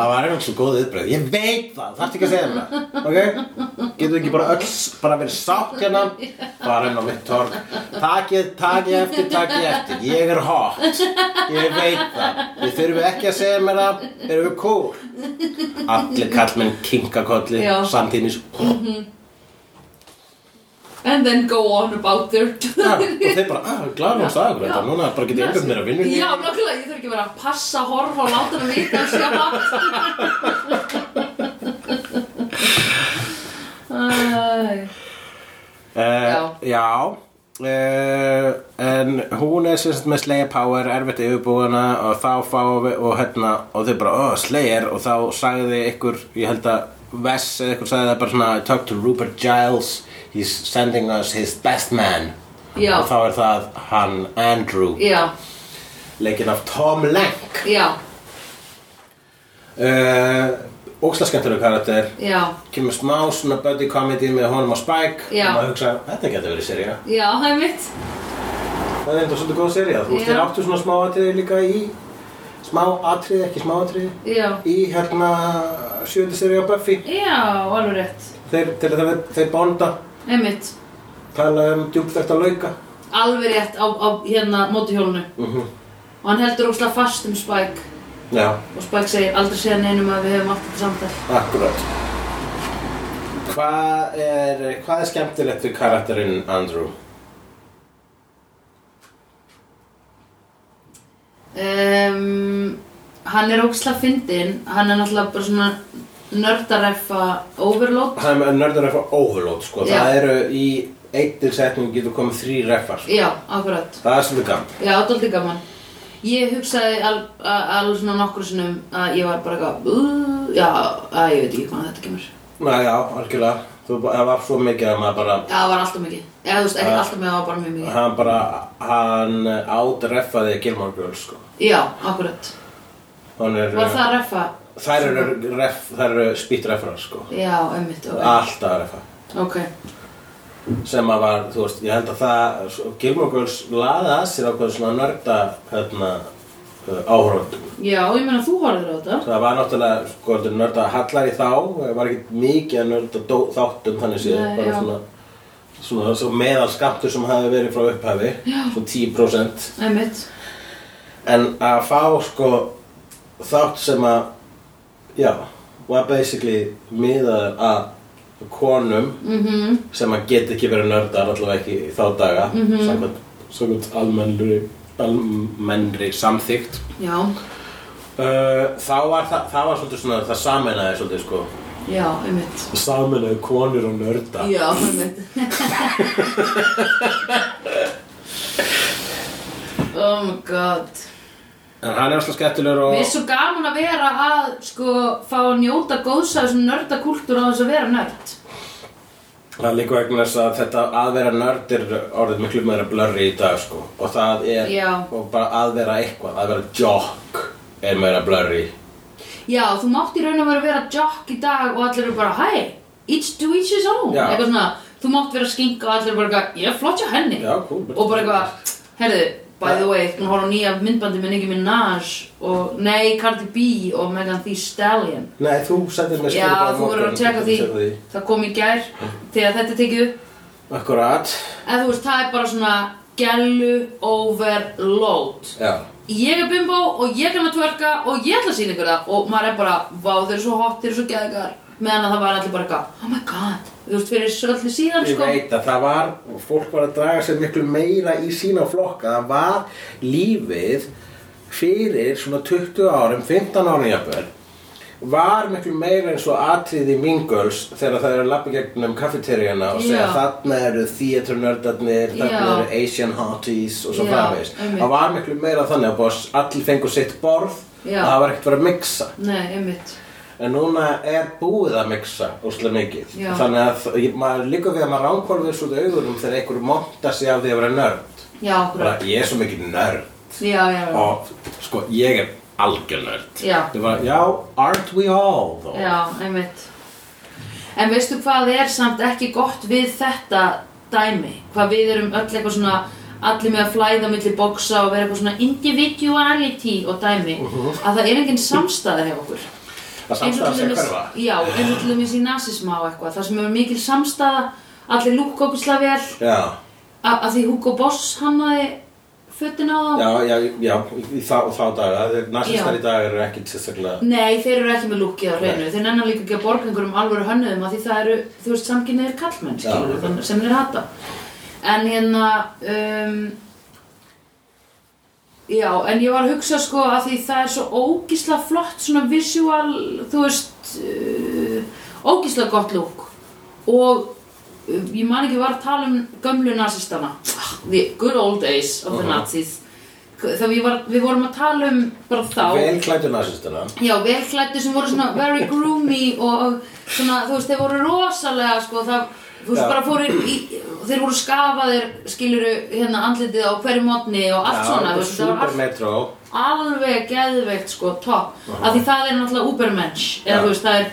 S2: Það var einhvern svo góð viðbröð Ég veit það, þarfst ekki að segja mér það Ok, getur ekki bara öll bara verið sátt hérna bara inn á mitt torg Takið, takið eftir, takið eftir Ég er hot Ég veit það Þið þurfum ekki að segja mér það Erum við cool Allir kallmenn kinkakolli
S1: Já.
S2: samtímis
S1: And then go on about their
S2: Ja, og þeir bara, ah, glæðum hans aðeins þetta,
S1: Já.
S2: núna bara getið einhvern mér að vinna
S1: Já, nokkulega, ég þarf ekki bara að passa, horfa og láta hann vita að sé hátt.
S2: Uh, já uh, En hún er sem sagt með Slayer Power erfitt yfirbúðana og þá fá við og hérna og þau bara oh, Slayer og þá sagði ykkur ég held að Vess eða ykkur sagði það bara svona I talked to Rupert Giles he's sending us his best man
S1: Já.
S2: og þá er það hann Andrew
S1: Já,
S2: leikinn af Tom Lank
S1: já,
S2: uh, Ógslaskemmtileg karakter
S1: já,
S2: kemur smá svona buddy comedy með honum á Spike
S1: Já.
S2: og maður hugsa þetta getur verið seria
S1: já, það er mitt.
S2: Það er enda svolítið góð serið, þú veist,
S1: Já.
S2: þér áttu svona smá atriði líka í smá atriði, ekki smá atriði
S1: Já,
S2: í hérna sjöndi serið á Buffy
S1: já, alveg rétt.
S2: þeir, þeir, þeir, þeir bonda,
S1: Einmitt,
S2: tala um djúpvert að lauka
S1: alveg rétt á, á hérna mótuhjólunu.
S2: mm -hmm.
S1: Og hann heldur óslega fast um Spike.
S2: Já,
S1: Og Spike segir aldrei segja neinum að við hefum allt þetta samtal.
S2: akkurat Hvað er, hvað er skemmtilegt við karakterinn Andrew?
S1: Um, hann er ókslega fyndinn, hann er náttúrulega bara svona nördareffa overload.
S2: Hann er nördur að fá overload, sko
S1: Já.
S2: Það eru í eittir setning getur komið þrý refar sko.
S1: Já, akkurat.
S2: Það er svolítið gaman
S1: Já, þetta er aldrei gaman. Ég hugsaði al- a- alveg svona nokkru sinnum að ég var bara eitthvað, "Bú", já, að ég veit ekki hvaðan þetta kemur.
S2: Næ, já, algjörlega Þú, það var svo mikið að maður bara
S1: Já, það var alltaf mikið. Já, þú veist, ekki alltaf mikið, það var bara mjög mikið.
S2: hann bara, hann átreffaði Gilmore Girls sko
S1: Já, akkurat.
S2: Hann er,
S1: Var það reffa?
S2: þær eru, ref, þær eru spýtreffarar sko
S1: Já, einmitt, ok.
S2: alltaf reffa
S1: Ok,
S2: sem að var, þú veist, ég held að það svo- Gilmore Girls laði að sér ákveð svona nörda hérna, áhróndum
S1: já, ég meina þú horfðir á þetta.
S2: það var náttúrulega, sko, þetta er nörda hallar í þá það var ekkert mikið að nörda dó, þáttum þannig séð,
S1: Nei,
S2: bara
S1: já.
S2: svona svona svo meðalskaptur sem hafi verið frá upphafi svo 10%
S1: Einmitt.
S2: En að fá sko þátt sem að, já, var basically miðaður að konum
S1: Mhm,
S2: sem að geta ekki verið nördar allavega ekki í þá daga
S1: Mhm.
S2: samkvæmt, samkvæmt almennri, almennri samþygt
S1: já,
S2: uh, þá var það, það var svolítið svona, það sameinaði svolítið sko
S1: já, einmitt.
S2: sameinaði konur og nörda
S1: Já, einmitt. oh my god.
S2: en hann er alltaf skemmtilegur og
S1: Mér er svo gaman að vera að sko fá að njóta góðs af þessum nördakultúr á þess að vera nörd.
S2: Það er líka vegna þess að þetta að vera nörd er orðið miklu meira blurri í dag sko og það er
S1: Já.
S2: og bara að vera eitthvað, að vera jock er meira blurri
S1: Já, þú mátt í raun og veru vera jock í dag og allir eru bara hæ, each to each his own.
S2: Já.
S1: Eitthvað svona, þú mátt vera skinka og allir eru bara eitthvað, ég er flott hjá henni.
S2: Já, cool.
S1: Og bara eitthvað, herðu, by the way, hún horfði á nýja myndbandi með Nicki Minaj og, nei, Cardi B og Megan Thee Stallion.
S2: Nei, þú sendir mér
S1: Já,
S2: skilaboð á
S1: þú verður
S2: morgun,
S1: að tjekka því.
S2: ég segi
S1: Það kom í gær þegar þetta er tekið upp.
S2: því Akkurat
S1: En þú veist, það er bara svona gælu overload.
S2: Já
S1: Ég er bimbo og ég kann að tverka og ég ætla að sína ykkur það og maður er bara, vá þeir eru svo hot, þeir eru svo geðgar. meðan að það var allir bara eitthvað oh my god, þú veist fyrir svolítið síðan
S2: Ég
S1: sko
S2: veit að það var, fólk var að draga sér miklu meira í sína flokka, það var lífið fyrir svona 20 árum, 15 árum jafnvel, var miklu meira eins og atrið í Mingles þegar það eru að lappa gegnum kaffeteríuna og segja
S1: Já.
S2: þarna eru theaternördarnir, þarna
S1: Já.
S2: eru Asian hotties og svo
S1: Já,
S2: framvegis.
S1: einmitt.
S2: Það var miklu meira þannig að bara allir fengur sitt borð
S1: Já.
S2: og það var ekkert verið að mixa.
S1: Nei, einmitt
S2: En núna er búið að mixa úslega mikið.
S1: Já.
S2: Þannig að þ- maður líka við að maður ránkólfið svo auðurum þegar einhver monta sig af því að vera nörd.
S1: Já,
S2: Bara,
S1: akkurat
S2: ég er svo mikið nörd
S1: Já, já, já
S2: og sko, ég er algjör nörd.
S1: Já.
S2: Ég bara, já, aren't we all þó?
S1: Já, einmitt En veistu hvað er samt ekki gott við þetta dæmi? Hvað við erum öll eitthvað svona allir með að flæða milli bóksa og vera eitthvað svona individuality og dæmi
S2: Mhm.
S1: að það er engin samstæða hjá okkur
S2: Það samstæða
S1: til
S2: sig
S1: dæmis-
S2: hverfa.
S1: Já, eins og til dæmis í nasisma og eitthvað þar sem er mikil samstæða allir lúkka okkur slavel
S2: Já,
S1: að að því Hugo Boss hannaði fötin á þá
S2: já, já, já, í þá, þá daga, þeir nasistar
S1: Já.
S2: í dag eru ekkit sérstaklega.
S1: Nei, þeir eru ekki með lukkið á hreinu,
S2: Nei.
S1: þeir nennan líka ekki að borga einhverjum alvöru hönnuðum að því það eru, þú veist, samkynniðir kallmenn,
S2: Já.
S1: skilur, þannig sem þeir hata. En hérna, um, já, en ég var að hugsa sko að því það er svo ógísla flott svona visual, þú veist, uh, ógísla gott lúk og uh, ég man ekki var að tala um gömlu nazistana, the good old days of the
S2: Mhm.
S1: nazis, þegar við, var, við vorum að tala um bara þá.
S2: Vel klættu nasistana.
S1: Já, velklættu sem voru svona very groomy og svona, þú veist, þeir voru rosalega, sko, það, þú veist,
S2: Já.
S1: bara fóru í, þeir voru skafaðir, skiluru, hérna, andlitið á hverju mótni og allt svona, þú veist, það var allt
S2: Supermetro.
S1: alveg geðveikt, sko, topp, af því það er náttúrulega ubermensch, eða
S2: Já.
S1: þú veist, það er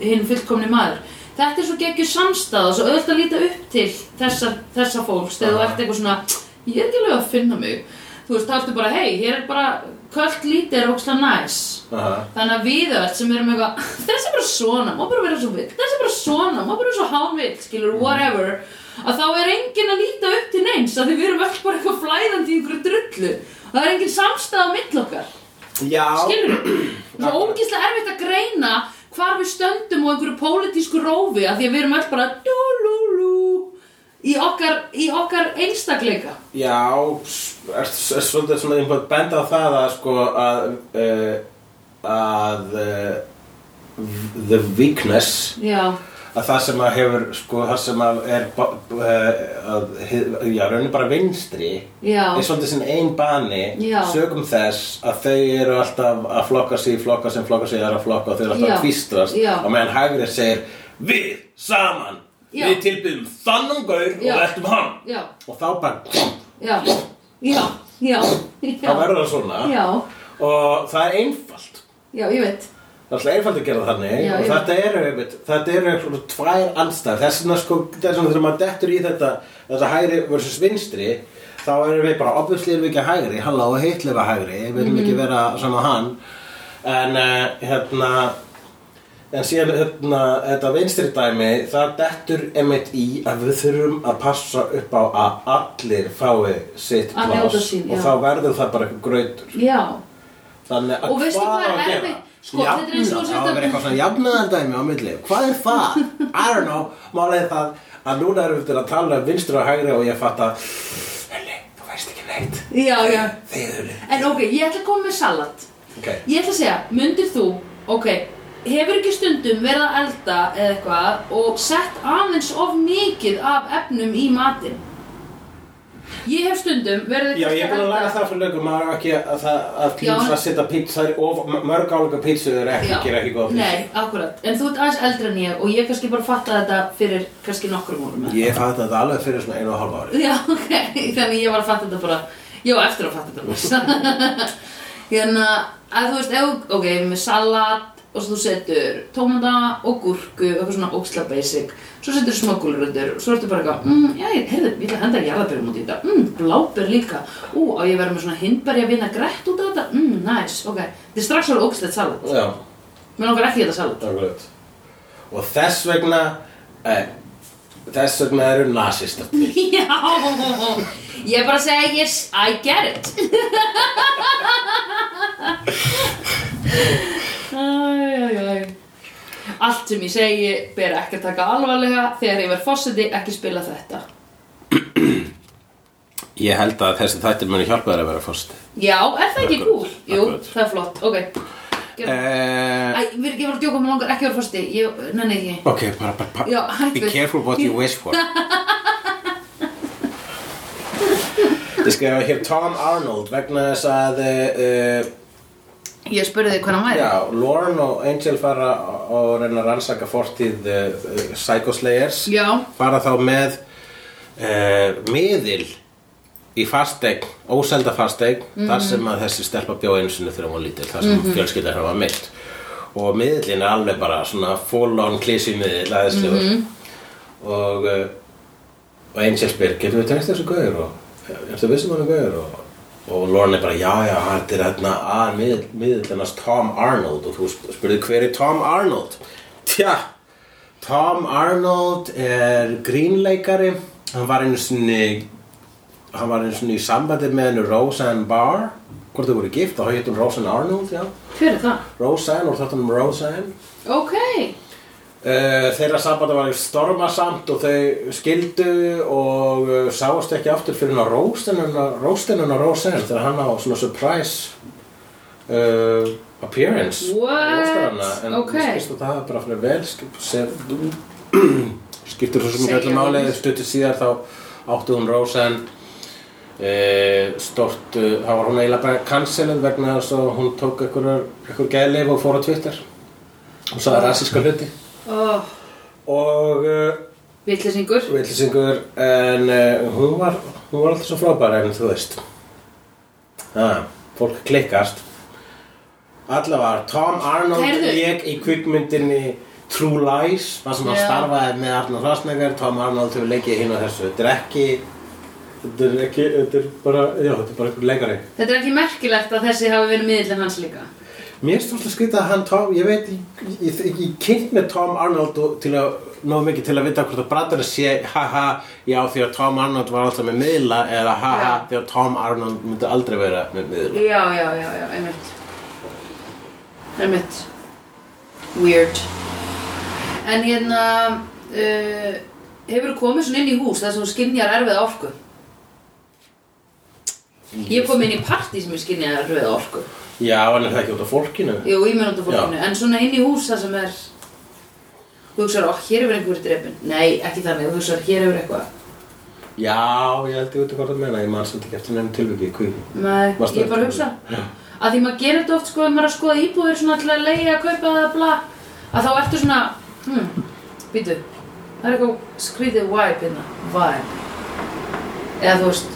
S1: hinn fullkomni maður. Þetta er svo geggjur samstæð og svo auðvitað að líta upp til þessa, þessa fólks, þegar þú
S2: Já.
S1: ert eitthvað svona, ég er ekki alveg að finna mig, þú veist, þá ertu bara, hei, hér er bara, kvöld lítið er ókslega næs.
S2: Aha.
S1: Þannig að við öll sem erum eitthvað Þessi er bara svona, má bara vera svo vill Þessi er bara svona, má bara vera svo hánvill
S2: Mm.
S1: Skilur, whatever Að þá er enginn að líta upp til neins Af því við erum öll bara eitthvað flæðandi í einhverju drullu Og það er engin samstæða á mill okkar
S2: Já.
S1: Skilur, það er ógeðslega erfitt að greina Hvar við stöndum á einhverju pólitísku rófi Af því að við erum öll bara Dúlúlú Í okkar, í okkar einstakleika
S2: Já, s- er, er svolítið svona einhvern veginn benda á það að sko að uh, að uh, the weakness
S1: Já,
S2: að það sem að hefur sko það sem að er ba- b- eh, að, hið- já, raunin bara vinstri
S1: Já.
S2: er svolítið sinn ein bani
S1: Já.
S2: sögum þess að þau eru alltaf að flokka sig, í flokka sem flokka sig, aðra flokka og þau eru alltaf
S1: Já.
S2: að tvistrast
S1: Já.
S2: og meðan hægrið segir við saman,
S1: Já.
S2: við tilbyðum þannan gaur
S1: Já.
S2: og veltum hann
S1: já,
S2: og þá bara
S1: já, já, já,
S2: þá
S1: já,
S2: verður það svona
S1: já.
S2: og það er einfalt
S1: Já, ég veit.
S2: það er alltaf einfalt að gera þannig
S1: Já,
S2: og
S1: já.
S2: þetta eru einmitt, þetta eru svona tvær andstæður þess vegna sko, þess vegna þegar maður dettur í þetta þetta hægri versus vinstri þá erum við bara, obviously erum við ekki hægri halló, heitlega hægri, við
S1: Mhm.
S2: viljum ekki vera svona hann en uh, hérna en síðan hérna, þetta vinstri dæmi það dettur einmitt í að við þurfum að passa upp á að allir fái sitt
S1: Að njóta sín, já.
S2: og þá verður það bara eitthvað gröytur
S1: Já,
S2: Þannig að
S1: Og veistu hvað er
S2: á að gera?
S1: erfitt? Sko, þetta er eins og
S2: Jafna-
S1: sem
S2: það á að vera eitthvað svona jafnaðardæmi á milli. Hvað er það? I don't know. Málið er það að núna erum við til að tala um vinstri og hægri og ég fatt að Hulli, þú veist ekki neitt.
S1: já, já.
S2: Þið hulli.
S1: En ok, ég ætla að koma með salat.
S2: Ok.
S1: Ég ætla að segja, myndir þú, ok, hefur ekki stundum verið að elda eða eitthvað og sett aðeins of mikið af efnum í matinn? Ég hef stundum verið
S2: Já, ég er búin að laga það fyrir lögum maður á ekki að, það, að
S1: Já.
S2: pizza að setja pizza of mörg álega pizza er ekki, gera ekki góða pizza.
S1: Nei, akkurat. En þú ert aðeins eldri en ég og ég kannski bara fatta þetta fyrir kannski nokkrum árum. eða
S2: Ég fatt þetta alveg fyrir svona einu og halva ári.
S1: Já, ok, þannig ég var að fatta þetta bara Ég var eftir að fatta þetta bara Hérna, að þú veist, ef, ok, með salat og svo þú setur tómata og gúrku og eitthvað svona óksla basic svo setur smá gulröndur svo ertu bara eitthvað, mm, já, ég, heyrðu, ég ætla að henda jarðabyrjum út í þetta mm, blábir líka, ú, á ég að vera með svona hindberja vinna grætt út af þetta, mm, nice, ok þetta er strax alveg óksleitt salat
S2: Já,
S1: mér langar ekki í þetta salat
S2: akkurat. Og þess vegna, eh, þess vegna eru nasistar til.
S1: Já, ég er bara að segja yes, I get it Æ, æ, æ allt sem ég segi ber ekki að taka alvarlega þegar ég verð fósiti ekki spila þetta
S2: Ég held að þessi þættir muni hjálpa þér að vera fórst
S1: já, er það ekki
S2: Akkurat,
S1: cool? jú,
S2: akkurat.
S1: það er flott, ok Gerðu-
S2: uh,
S1: Æ, við erum ekki að djóka með langar ekki að vera fósiti ég nenni því ekki
S2: Ok, bara, bara, bara
S1: Já, hættu.
S2: Be careful what you wish for Ég skrifa hér Tom Arnold vegna þess að uh,
S1: ég spurði þig hvernig hann væri
S2: Já, Lauren og Angel fara og reyna að rannsaka fortíð uh, uh, Psycho Slayers
S1: já,
S2: fara þá með uh, miðil í fastegn, óselda fastegn þar sem að þessi stelpa bjó einu sinni þegar hún var lítil, þar sem mm -hmm. fjölskyldar hafa myllt og miðlin er alveg bara svona full on klísi miðil aðeinslegur og, uh, og Angel spyr, getum við tengt þessu gauður og ertu vissum hann er gauður og, og Lauren er bara, já já, þetta er hérna að miðill- miðill hennast Tom Arnold og þú sp- spurði hver er Tom Arnold tja, Tom Arnold er grínleikari hann var einu sinni hann var einu sinni í sambandi með henni Roseanne Barr hvort þau voru gift, þá hétt hún Roseanne Arnold já.
S1: hver er það?
S2: Roseanne og þáttunum Roseanne
S1: ok,
S2: uh, þeirra sambandi var stormasamt og þau skildu og uh, sáast ekki aftur fyrir hennar Roseanne Roseanne Roseanne þegar hann á svona surprise uh, appearance
S1: What?
S2: Roseanne-a. en
S1: Ok.
S2: skilst það hafi bara fyrir vel skip- sem- skiptur svo sem
S1: Segja
S2: ekki öllum
S1: honum.
S2: máli stuttir síðar þá átti hún Roseanne e, stort eh, þá var hún eiginlega bara cancelið vegna þess að hún tók einhver, einhver gæðleif og fór á Twitter og sagði
S1: Ah.
S2: rassíska hluti
S1: oh,
S2: og uh,
S1: vitlisingur
S2: villisingur en uh, hún var hún var alltaf svo frábæra en þú veist ah, fólk klikkast allavega Tom Arnold
S1: Heyrðu.
S2: leik í kvikmyndinni True Lies það sem hann
S1: Já.
S2: starfaði með Arnold Schwarzenegger Tom Arnold hefur leikið hinn og þessu þetta er ekki þetta er ekki, þetta er bara já, þetta er bara einhver leikari
S1: þetta er ekki merkilegt að þessi hafi verið miðlinn hans líka
S2: Mér finnst alltaf skrítið að hann Tom, ég veit, ég, ég, ég, ég kynnt með Tom Arnold og- til að, nóg mikið til að vita hvort að brandarinn sé, haha, já því að Tom Arnold var alltaf með miðla eða haha,
S1: Já.
S2: því að Tom Arnold myndi aldrei vera með miðla.
S1: já, já, já, já, einmitt einmitt weird en hérna uh, hefur komið svona inn í hús þar sem þú skynjar erfið orku ég kom inn í partí sem ég skynjaði erfið orku
S2: Já, en er það ekki út af fólkinu?
S1: jú, í mínútu fólkinu, en svona inn í hús þar sem er þú hugsar, ó, hér hefur einhver drefin nei, ekki þannig, þú hugsar, hér hefur eitthvað
S2: Já, ég held ég út af hvað það meina, ég man samt ekki eftir nefnum tilvikið í kvíðinu.
S1: nei,
S2: Varstu
S1: ég bara
S2: eftir-
S1: hugsa
S2: Já.
S1: að því maður gerir þetta oft sko ef maður er að skoða íbúðir svona til að leiga, kaupa eða bla að þá ertu svona hmm, býtu, það er eitthvað skrítið vibe hérna, vibe eða þú veist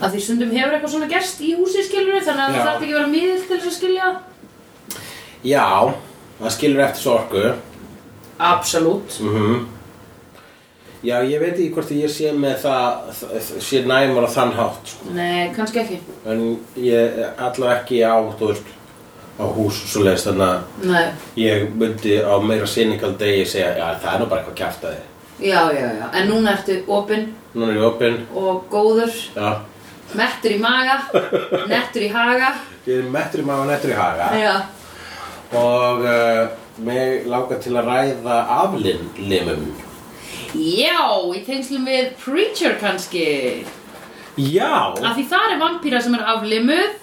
S1: að því stundum hefur eitthvað svona gerst í húsi skilur þannig að
S2: Já.
S1: það þarf ekki að vera miðill til þess að skilja
S2: Já, það skilur eftir sorgu.
S1: absolutt
S2: Mhm. Já, ég veit ekki hvort að ég sé með það, það sé næmur á þann hátt, sko.
S1: nei, kannski ekki
S2: en ég allavega ekki á, þú veist, á hús og svoleiðis þannig að
S1: nei,
S2: ég myndi á meira sinningal degi segja já það er nú bara eitthvað kjæft að þið
S1: já, já, já en núna ertu opinn
S2: núna er ég opinn
S1: og góður
S2: já
S1: mettur í maga, nettur í haga
S2: ég er mettur í maður og nettur í haga
S1: já,
S2: og uh, mig langar til að ræða aflimum
S1: já í tengslum við Preacher kannski
S2: já
S1: Af því þar er vampýra sem er aflimuð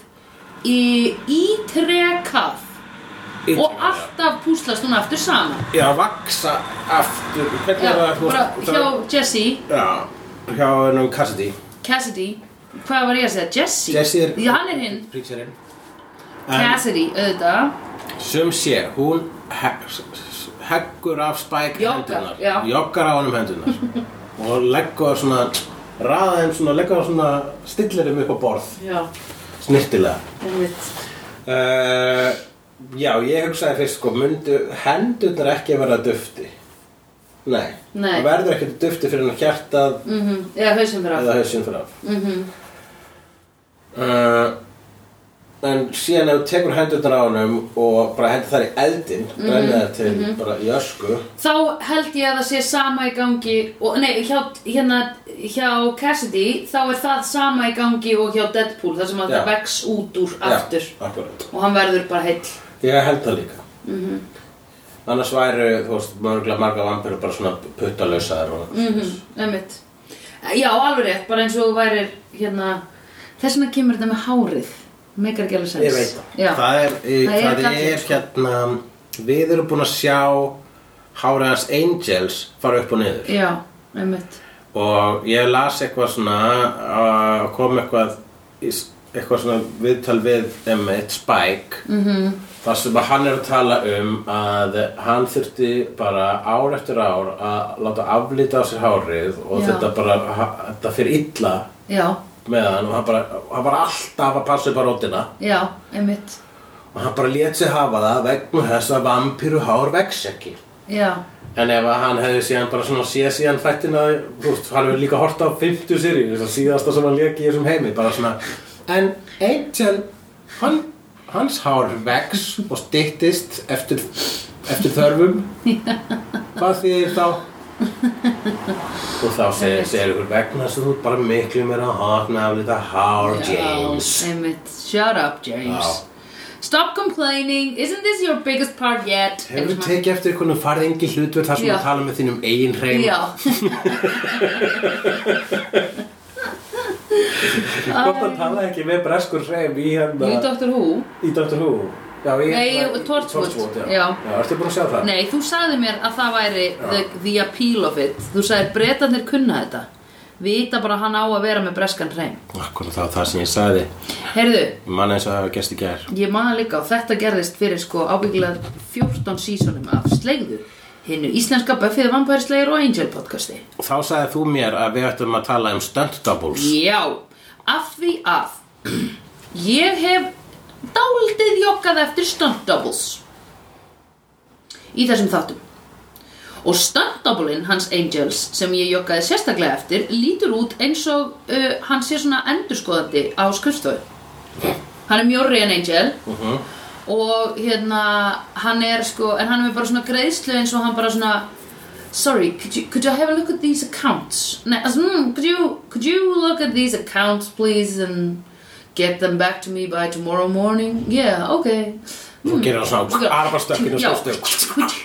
S1: í ítrekað
S2: Ítrekað,
S1: og alltaf púslast hún aftur saman.
S2: já vaksa aftur hvernig
S1: Já,
S2: er það þú-
S1: bara hjá
S2: það-
S1: Jesse,
S2: já hjá hennum Cassidy
S1: Cassidy, hvað var ég að segja? Jesse?
S2: Jesse er
S1: Já, hann er hinn.
S2: preacherinn en
S1: Cassidy, auðvitað.
S2: sem sé hún he- s- s- heggur af Spike
S1: Joggar,
S2: hendunar
S1: já.
S2: joggar á honum hendunar og leggur svona raða þeim svona, leggur svona stillir þeim upp á borð
S1: Já,
S2: snirtilega
S1: einmitt.
S2: uh, já, ég hugsaði fyrst sko, mundu hendunar ekki vera dufti nei,
S1: Nei.
S2: það verður ekki dufti fyrir hann hjartað
S1: Mm Eða hausinn fyrir aftur.
S2: eða hausinn fyrir af
S1: Mhm.
S2: uh, en síðan ef þú tekur hendurnar á honum og bara hendur þar í eldin mm
S1: Mhm.
S2: -hmm. brennið það til bara í ösku
S1: Þá held ég að það sé sama í gangi, og, nei, hjá, hérna, hjá Cassidy, þá er það sama í gangi og hjá Deadpool, þar sem að
S2: Já.
S1: það vex út úr aftur
S2: Já, akkurat
S1: og hann verður bara heill. Mhm.
S2: Ég held það líka annars væru, þú veist, mörgulega marga vampirur bara svona puttalausaðar og
S1: Mhm, einmitt. Eh, Já, alveg rétt, bara eins og þú værir hérna, þess vegna kemur þetta með hárið, megar ekki alveg sens.
S2: Ég veit það.
S1: Já,
S2: Það er, e,
S1: Það
S2: það
S1: er
S2: er,
S1: gallið, sko.
S2: hérna, við erum búin að sjá Háræðars Angels fara upp og niður.
S1: já, einmitt.
S2: Og ég las eitthvað svona, uh, kom eitthvað, í s- eitthvað svona viðtal við um eitt Spike. Mm -hmm. Þar sem að hann er að tala um að hann þurfti bara ár eftir ár að láta aflita á sér hárið og
S1: Já.
S2: þetta bara, ha, þetta fyrir illa
S1: Já,
S2: með hann og hann bara, hann bara alltaf að passa upp á rótina.
S1: já, einmitt.
S2: og hann bara lét sig hafa það vegna þess að vampíru hár vex ekki
S1: Já,
S2: en ef að hann hefði síðan bara svona séð síðan þættina þú veist, hann hefur líka hort á 50 sirjur þess að síðasta sem hann lék í þessum heimi bara svona, en Angel hann, hans hár vex og styttist eftir, eftir þörfum hvað þýðir þá og þá segir, segir ykkur vegna þess að þú ert bara miklu meira að hotna af þetta hár James
S1: Já, einmitt. Shut up, James. Stop complaining, isn't this your biggest part yet?
S2: Hefur
S1: Eitthvað
S2: þú tekið eftir hvernig farið engin hlutverð þar sem
S1: Já.
S2: þú tala með þínum eigin hrein?
S1: Já
S2: Hvort að tala ekki með breskur hrein í hérna...
S1: Í Doctor Who
S2: Í Dr. Who? Já, í...
S1: Nei, í Torchwood.
S2: Torchwood, já.
S1: Já.
S2: Já, ertu búin að sjá það?
S1: Nei, þú sagði mér að það væri the, the appeal of it Þú sagði bretarnir kunna þetta Vita bara að hann á að vera með breskan hreim
S2: Akkur það var það sem ég sagði.
S1: Heyrðu,
S2: Ég Man eins og það hafa gæst í gær.
S1: ég man það líka og þetta gerðist fyrir sko ábyggilega 14 sísonum af Sleigðu Hinnu íslenska Buffy the Vampire Slayer og Angel podcasti
S2: Þá sagði þú mér að við ættum að tala um stunt doubles.
S1: Já, af því að ég hef dáldið jokkað eftir stunt doubles í þessum þáttum. Og stunt doubleinn hans Angels sem ég jokkaði sérstaklega eftir lítur út eins og uh, hann sé svona endurskoðandi á skurstofu. Hann er mjórri en Angel og hérna hann er sko, en hann er með bara svona greiðslu eins og hann bara svona Sorry, could you, could you have a look at these accounts? Nei, altså, mm, could, you, could you look at these accounts please and get them back to me by tomorrow morning? Yeah, okay. Sko,
S2: Þú gerir það svona arfastökkinu
S1: Mm. Já.
S2: stökk.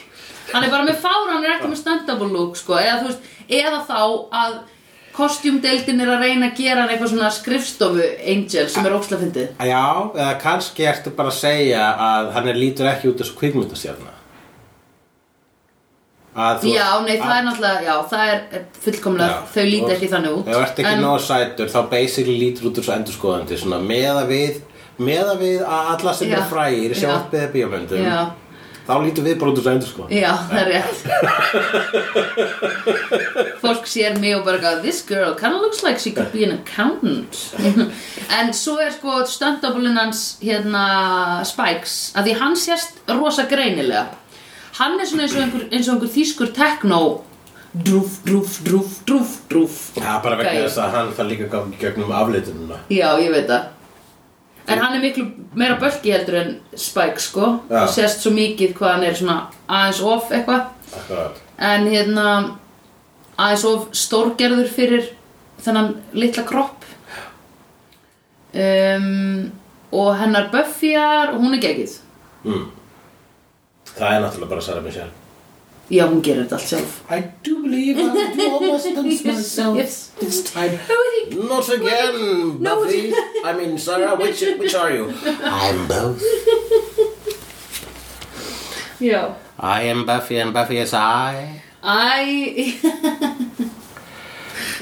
S1: hann er bara með fára, hann er ekki með stand-up look sko, eða þú veist, eða þá að kostjúmdeildin er að reyna að gera hann eitthvað svona skrifstofu angel sem er óksla fyndið
S2: Já, eða kannski ertu bara að segja að hann er lítur ekki út þessu kvikmyndastjarna. Sko, Að þú-
S1: já, nei, það er náttúrulega, já, það er eh, fullkomlega,
S2: Já,
S1: þau líti
S2: og
S1: ekki þannig út
S2: Ef þú ert ekki
S1: en,
S2: nógu sætur þá basically lítur út úr svo endurskoðandi svona meða við meða við að alla sem
S1: Já.
S2: eru frægir í
S1: Já.
S2: sjónvarpið eða bíómyndum
S1: Já.
S2: þá lítur við bara út úr svo endurskoðandi
S1: já, það er rétt fólk sér mig og bara gaf, this girl kind of looks like she could be an accountant en svo er sko stand-upulinn hans hérna Spikes, að því hann sést rosa greinilega hann er svona eins og einhver, eins og einhver þýskur tekno drúf, drúf, drúf, drúf, drúf
S2: Já, bara vegna
S1: Gæi.
S2: þess að hann það líka gangi gegnum aflitununa
S1: Já, ég veit það En hann er miklu meira bölki heldur en Spike, sko
S2: Já.
S1: Það sést svo mikið hvað hann er svona aðeins of eitthvað
S2: Akkurat
S1: En hérna aðeins of stórgerður fyrir þennan litla kropp um, Og hennar Buffyar, hún er geggið
S2: mm. Það er náttúrulega bara Sarah Michelle
S1: Já, hún gerir þetta allt sjálf
S2: I do believe I will do all my stunts myself
S1: Yes.
S2: this time
S1: Nobody-
S2: Not again,
S1: No,
S2: Buffy I mean, Sarah, which, which are you? I'm both
S1: Já
S2: I am Buffy and Buffy is I
S1: Æ,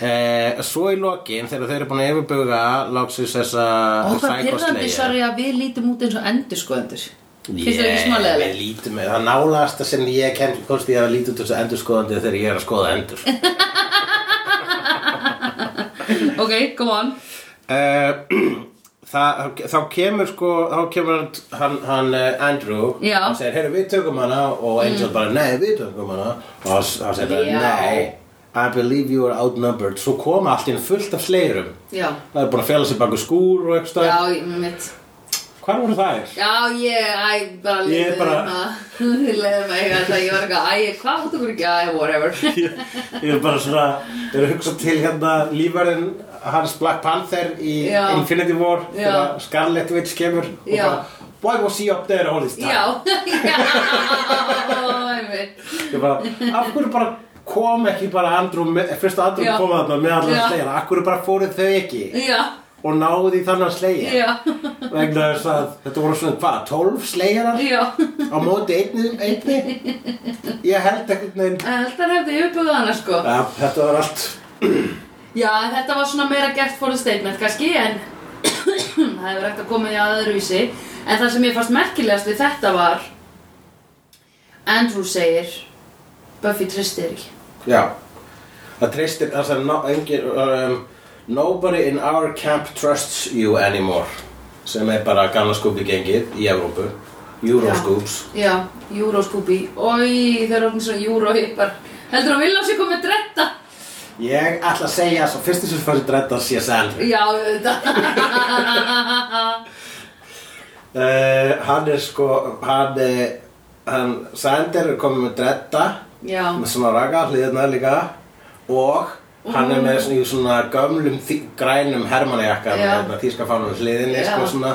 S2: Eh, svo í lokin þegar þeir eru búin að yfirbuga láksins þessa
S1: og hvað pyrrandi
S2: Psycho-sleigju.
S1: sorry að við lítum út eins og endurskoðendur Finnst þér ekki
S2: Ég,
S1: smálega
S2: við lítum með það nálasta sem ég kenn komst ég að lítu þessu endurskoðandi þegar ég er að skoða endur
S1: Ok, come on
S2: uh, það, þá kemur sko þá kemur hann, hann, hann eh, Andrew
S1: Já. Mm.
S2: hann segir, heyrðu við tökum hana og Angel bara, nei við tökum hana og hann hann segir bara,
S1: Já.
S2: nei I believe you are outnumbered svo koma allt í enn fullt af sleirum
S1: Já,
S2: það er búin að fjala sér baku skúr og eitthvað
S1: já, mitt
S2: hvar voru þær?
S1: Já, ég, æ, bara
S2: Ég
S1: leiði
S2: bara-
S1: mig Leiði mig, ég ætla, ég var eitthvað Æ, hvað áttu okkur ekki, æ, whatever
S2: Ég er bara svona, ég er að hugsa til hérna lífverðin hans Black Panther í
S1: Já.
S2: Infinity War
S1: Já.
S2: þegar Scarlet Witch kemur og
S1: Já.
S2: bara Why was she up there all this time?
S1: Já, já
S2: Ég bara, af hverju bara kom ekki bara Andrew, með- fyrst að Andrew
S1: Já.
S2: kom þarna með
S1: Já.
S2: allar slegina, af hverju bara fóruð þau ekki
S1: já,
S2: og náðu í þannan slegja
S1: já,
S2: vegna þess að þetta voru svona hvað, 12 slegjarar
S1: já.
S2: á móti einni, einni ég held ekkert neginn
S1: Þetta hefði yfirbúið hana sko.
S2: ja, þetta var allt
S1: Já, en þetta var svona meira gert for the statement kannski, en það hefur ekkert að koma í aðurvísi. En það sem ég fannst merkilegast við þetta var, Andrew segir, Buffy tristir ekki.
S2: já, það treystir það sem no, engin, um, nobody in our camp trusts you anymore sem er bara gamla skúpi gengið í Evrópu Euroskúps
S1: Já, Euroscooby. Oi, þeir eru orðin svona Eurohippar. Heldur að Vilja sé komið dretta?
S2: ég ætla að segja svo fyrst þessu fyrir drættar sé sann
S1: Já, þetta.
S2: uh, hann er sko hann, eh, hann Sander er komið með drætta
S1: Já,
S2: með svona raka hliðina líka og hann er með svona, í svona gömlum þí- grænum hermannajakka með
S1: Já.
S2: hérna, þýska fánum hliðinni
S1: Já.
S2: sko, svona,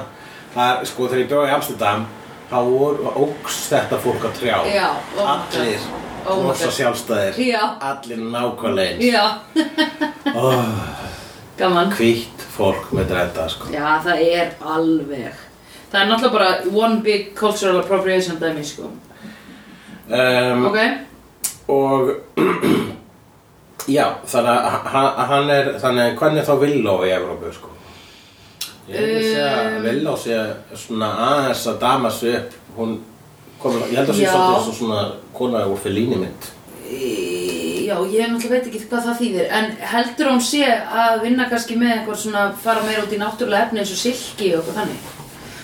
S2: það er, sko þegar ég bjóði í Amsterdam þá voru ógs þetta fólk á trjá
S1: Já, oh my
S2: allir
S1: God. Oh my
S2: rosa
S1: God.
S2: sjálfstæðir
S1: Já.
S2: allir nákvæmlegin
S1: já,
S2: oh,
S1: gaman.
S2: hvítt fólk með dræta sko.
S1: Já, það er alveg. Það er náttúrulega bara one big cultural appropriation dæmi, sko.
S2: um,
S1: Ok?
S2: og já þannig að hann- hann er þannig að hvernig er þá Villó í Evrópu sko ég held að segja
S1: Um.
S2: að Villó sé svona aðeins að dama sig upp hún komur ég held að sé
S1: Já.
S2: svolítið eins og svona kona úr Fellini mynd
S1: Í- Já, ég náttúrulega veit ekki hvað það þýðir, en heldur hún sé að vinna kannski með eitthvað svona, fara meira út í náttúrulega efni eins og silki og eitthvað þannig?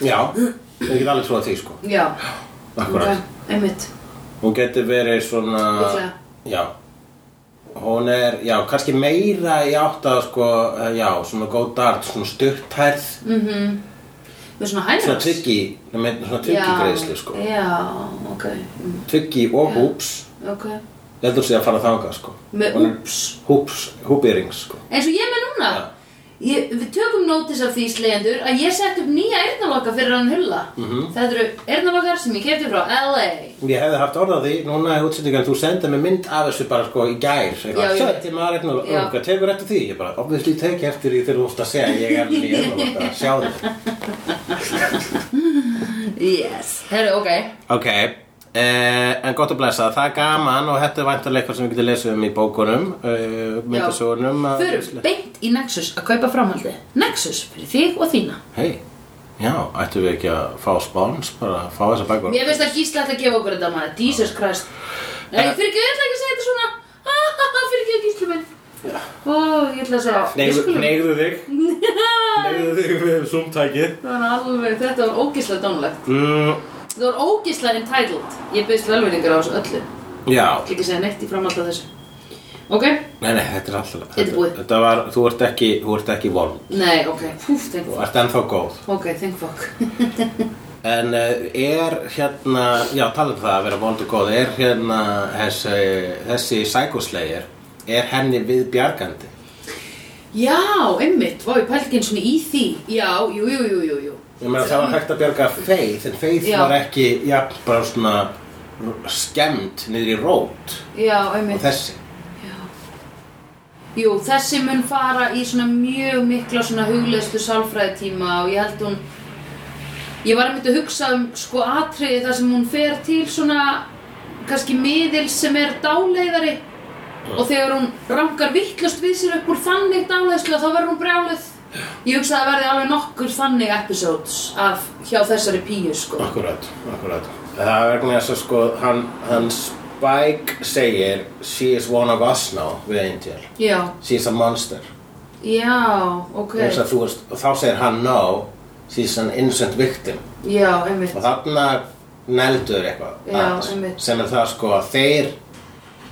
S2: já ég get alveg trúið því sko
S1: Já,
S2: akkurat
S1: ok, einmitt.
S2: hún getur verið svona
S1: Líklega.
S2: já hún er já kannski meira í átt að sko eh, já svona góð dart svona stutthærð
S1: Með svona hænir
S2: svona tyggi svona tyggi greiðslu sko
S1: Mm. Já, ok, mm,
S2: Tuggi og húps
S1: ok.
S2: Ég heldur sig að fara þangað sko
S1: Með
S2: Hún er-
S1: úps.
S2: Húps, húpyrings sko
S1: Eins og ég er með núna. Ég, við tökum nótis af því slegjendur að ég sett upp nýja eyrnaloka fyrir hann hulla.
S2: Mhm.
S1: Það eru eyrnalokar sem ég kefti frá LA.
S2: Ég hefði haft orð á því, núna er útsendingan Þú sendið mér mynd af þessu bara sko í gær
S1: Já,
S2: eitthvað,
S1: ég-
S2: Sætti maður einn og
S1: Já.
S2: okkar Tekur eftir því, ég bara Obviously teki eftir því þegar þú ert að segja Ég er hérna í erum að sjá því
S1: Yes. Herru, ok.
S2: Ok, eh, en gott að blessa Það er gaman og þetta er vantarlega eitthvað sem við getum lesið um í bókunum eh, Myndasögunum að-
S1: Förum beint í Nexus að kaupa framhaldi. Nexus fyrir þig og þína.
S2: Hei, já, ættum við ekki að fá spáns Bara að fá þessa bækur
S1: Mér finnst að gísla ætti að gefa okkur þetta maður. Jesus Christ. Nei, fyrir ekki, ég ætla ekki að segja þetta svona. Ha, ha, ha, fyrir ekki, gísli minn. Ó, ég ætla að segja. við
S2: Neigðu
S1: skulum-
S2: neigðu þig Neigðu þig við zoomtækið
S1: Það var alveg, þetta var ógíslega dánlegt.
S2: mm,
S1: Þetta var ógíslega entitled. Ég byrst velvinningar á þessu öllu.
S2: Já,
S1: Ég vil ekki segja neitt í framhald af þessu. Ok?
S2: nei, nei, þetta er alltaf
S1: Þetta er búið.
S2: Þetta var, þú ert ekki, þú ert ekki von
S1: Nei, ok. Púf, thank
S2: Þú
S1: fuck.
S2: ert ennþá góð
S1: Ok, thank fuck.
S2: En uh, er hérna, já, tala um það að vera vond og góð Er hérna þessi, þessi sækoslegir Er henni við bjargandi?
S1: Já, einmitt. Vá, ég pælt ekki eins og í því. Já, jú, jú, jú, jú, jú.
S2: Ég meina það var hægt að bjarga Faith En Faith
S1: Já.
S2: var ekki, já, bara svona r- skemmd niður í rót
S1: Já,
S2: Og
S1: einmitt.
S2: þessi
S1: Jú, þessi mun fara í svona mjög mikla svona hugleistu sálfræðitíma og ég held hún ég var einmitt að hugsa um sko atriði þar sem hún fer til svona kannski miðil sem er dáleiðari og þegar hún rangar vittlust við sér upp úr þannig dáleiðslu þá verður hún brjáluð ég hugsa að það verði alveg nokkur þannig episodes af hjá þessari píu sko
S2: Akkurat, akkurat. Það er vegna þess að sko, hann, hann Spike segir She is one of us now við Angel.
S1: já,
S2: She is a monster.
S1: já, ok
S2: Okay. Að, þú veist, og þá segir hann no, she is an innocent victim.
S1: já, einmitt
S2: Og þarna neldur eitthvað.
S1: Já,
S2: að-
S1: einmitt.
S2: Sem er það sko að þeir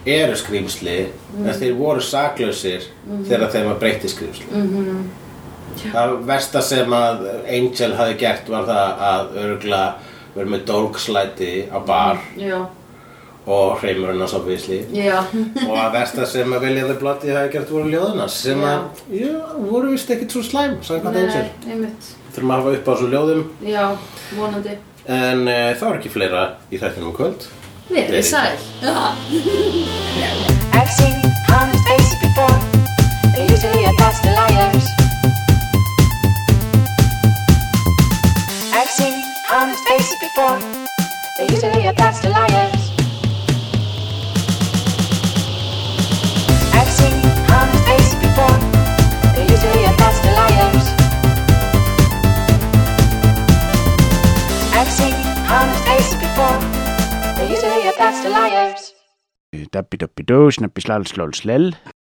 S2: eru skrýmsli
S1: Mhm.
S2: en þeir voru saklausir þegar þeim var breytti skrýmsli. Mm
S1: Mhm.
S2: -hmm. Það versta sem að Angel hafi gert var það að örgla verið með dólkslæti á bar
S1: já,
S2: og hreimur hennar svo vísli
S1: já,
S2: og að versta sem að vilja þau blotti hafi gert voru ljóðuna sem að, já, voru vist ekki svo slæm samkvæmt
S1: nei,
S2: Angel
S1: einmitt
S2: þurfum að hafa upp á svo ljóðum eh,
S1: Já, vonandi.
S2: en e, það var ekki fleira í þættinum í kvöld
S1: verið
S2: Verið
S1: sæl. Já.
S3: I've seen honest faces before. They're usually a bunch of liars. I've seen honest faces before. They're usually a bunch of liars. I've seen honest faces before. They're usually a bunch of liars. I've seen honest faces before. They're usually a bunch of liars.
S4: Dabbi dabbi dó, snabbi slal slól slell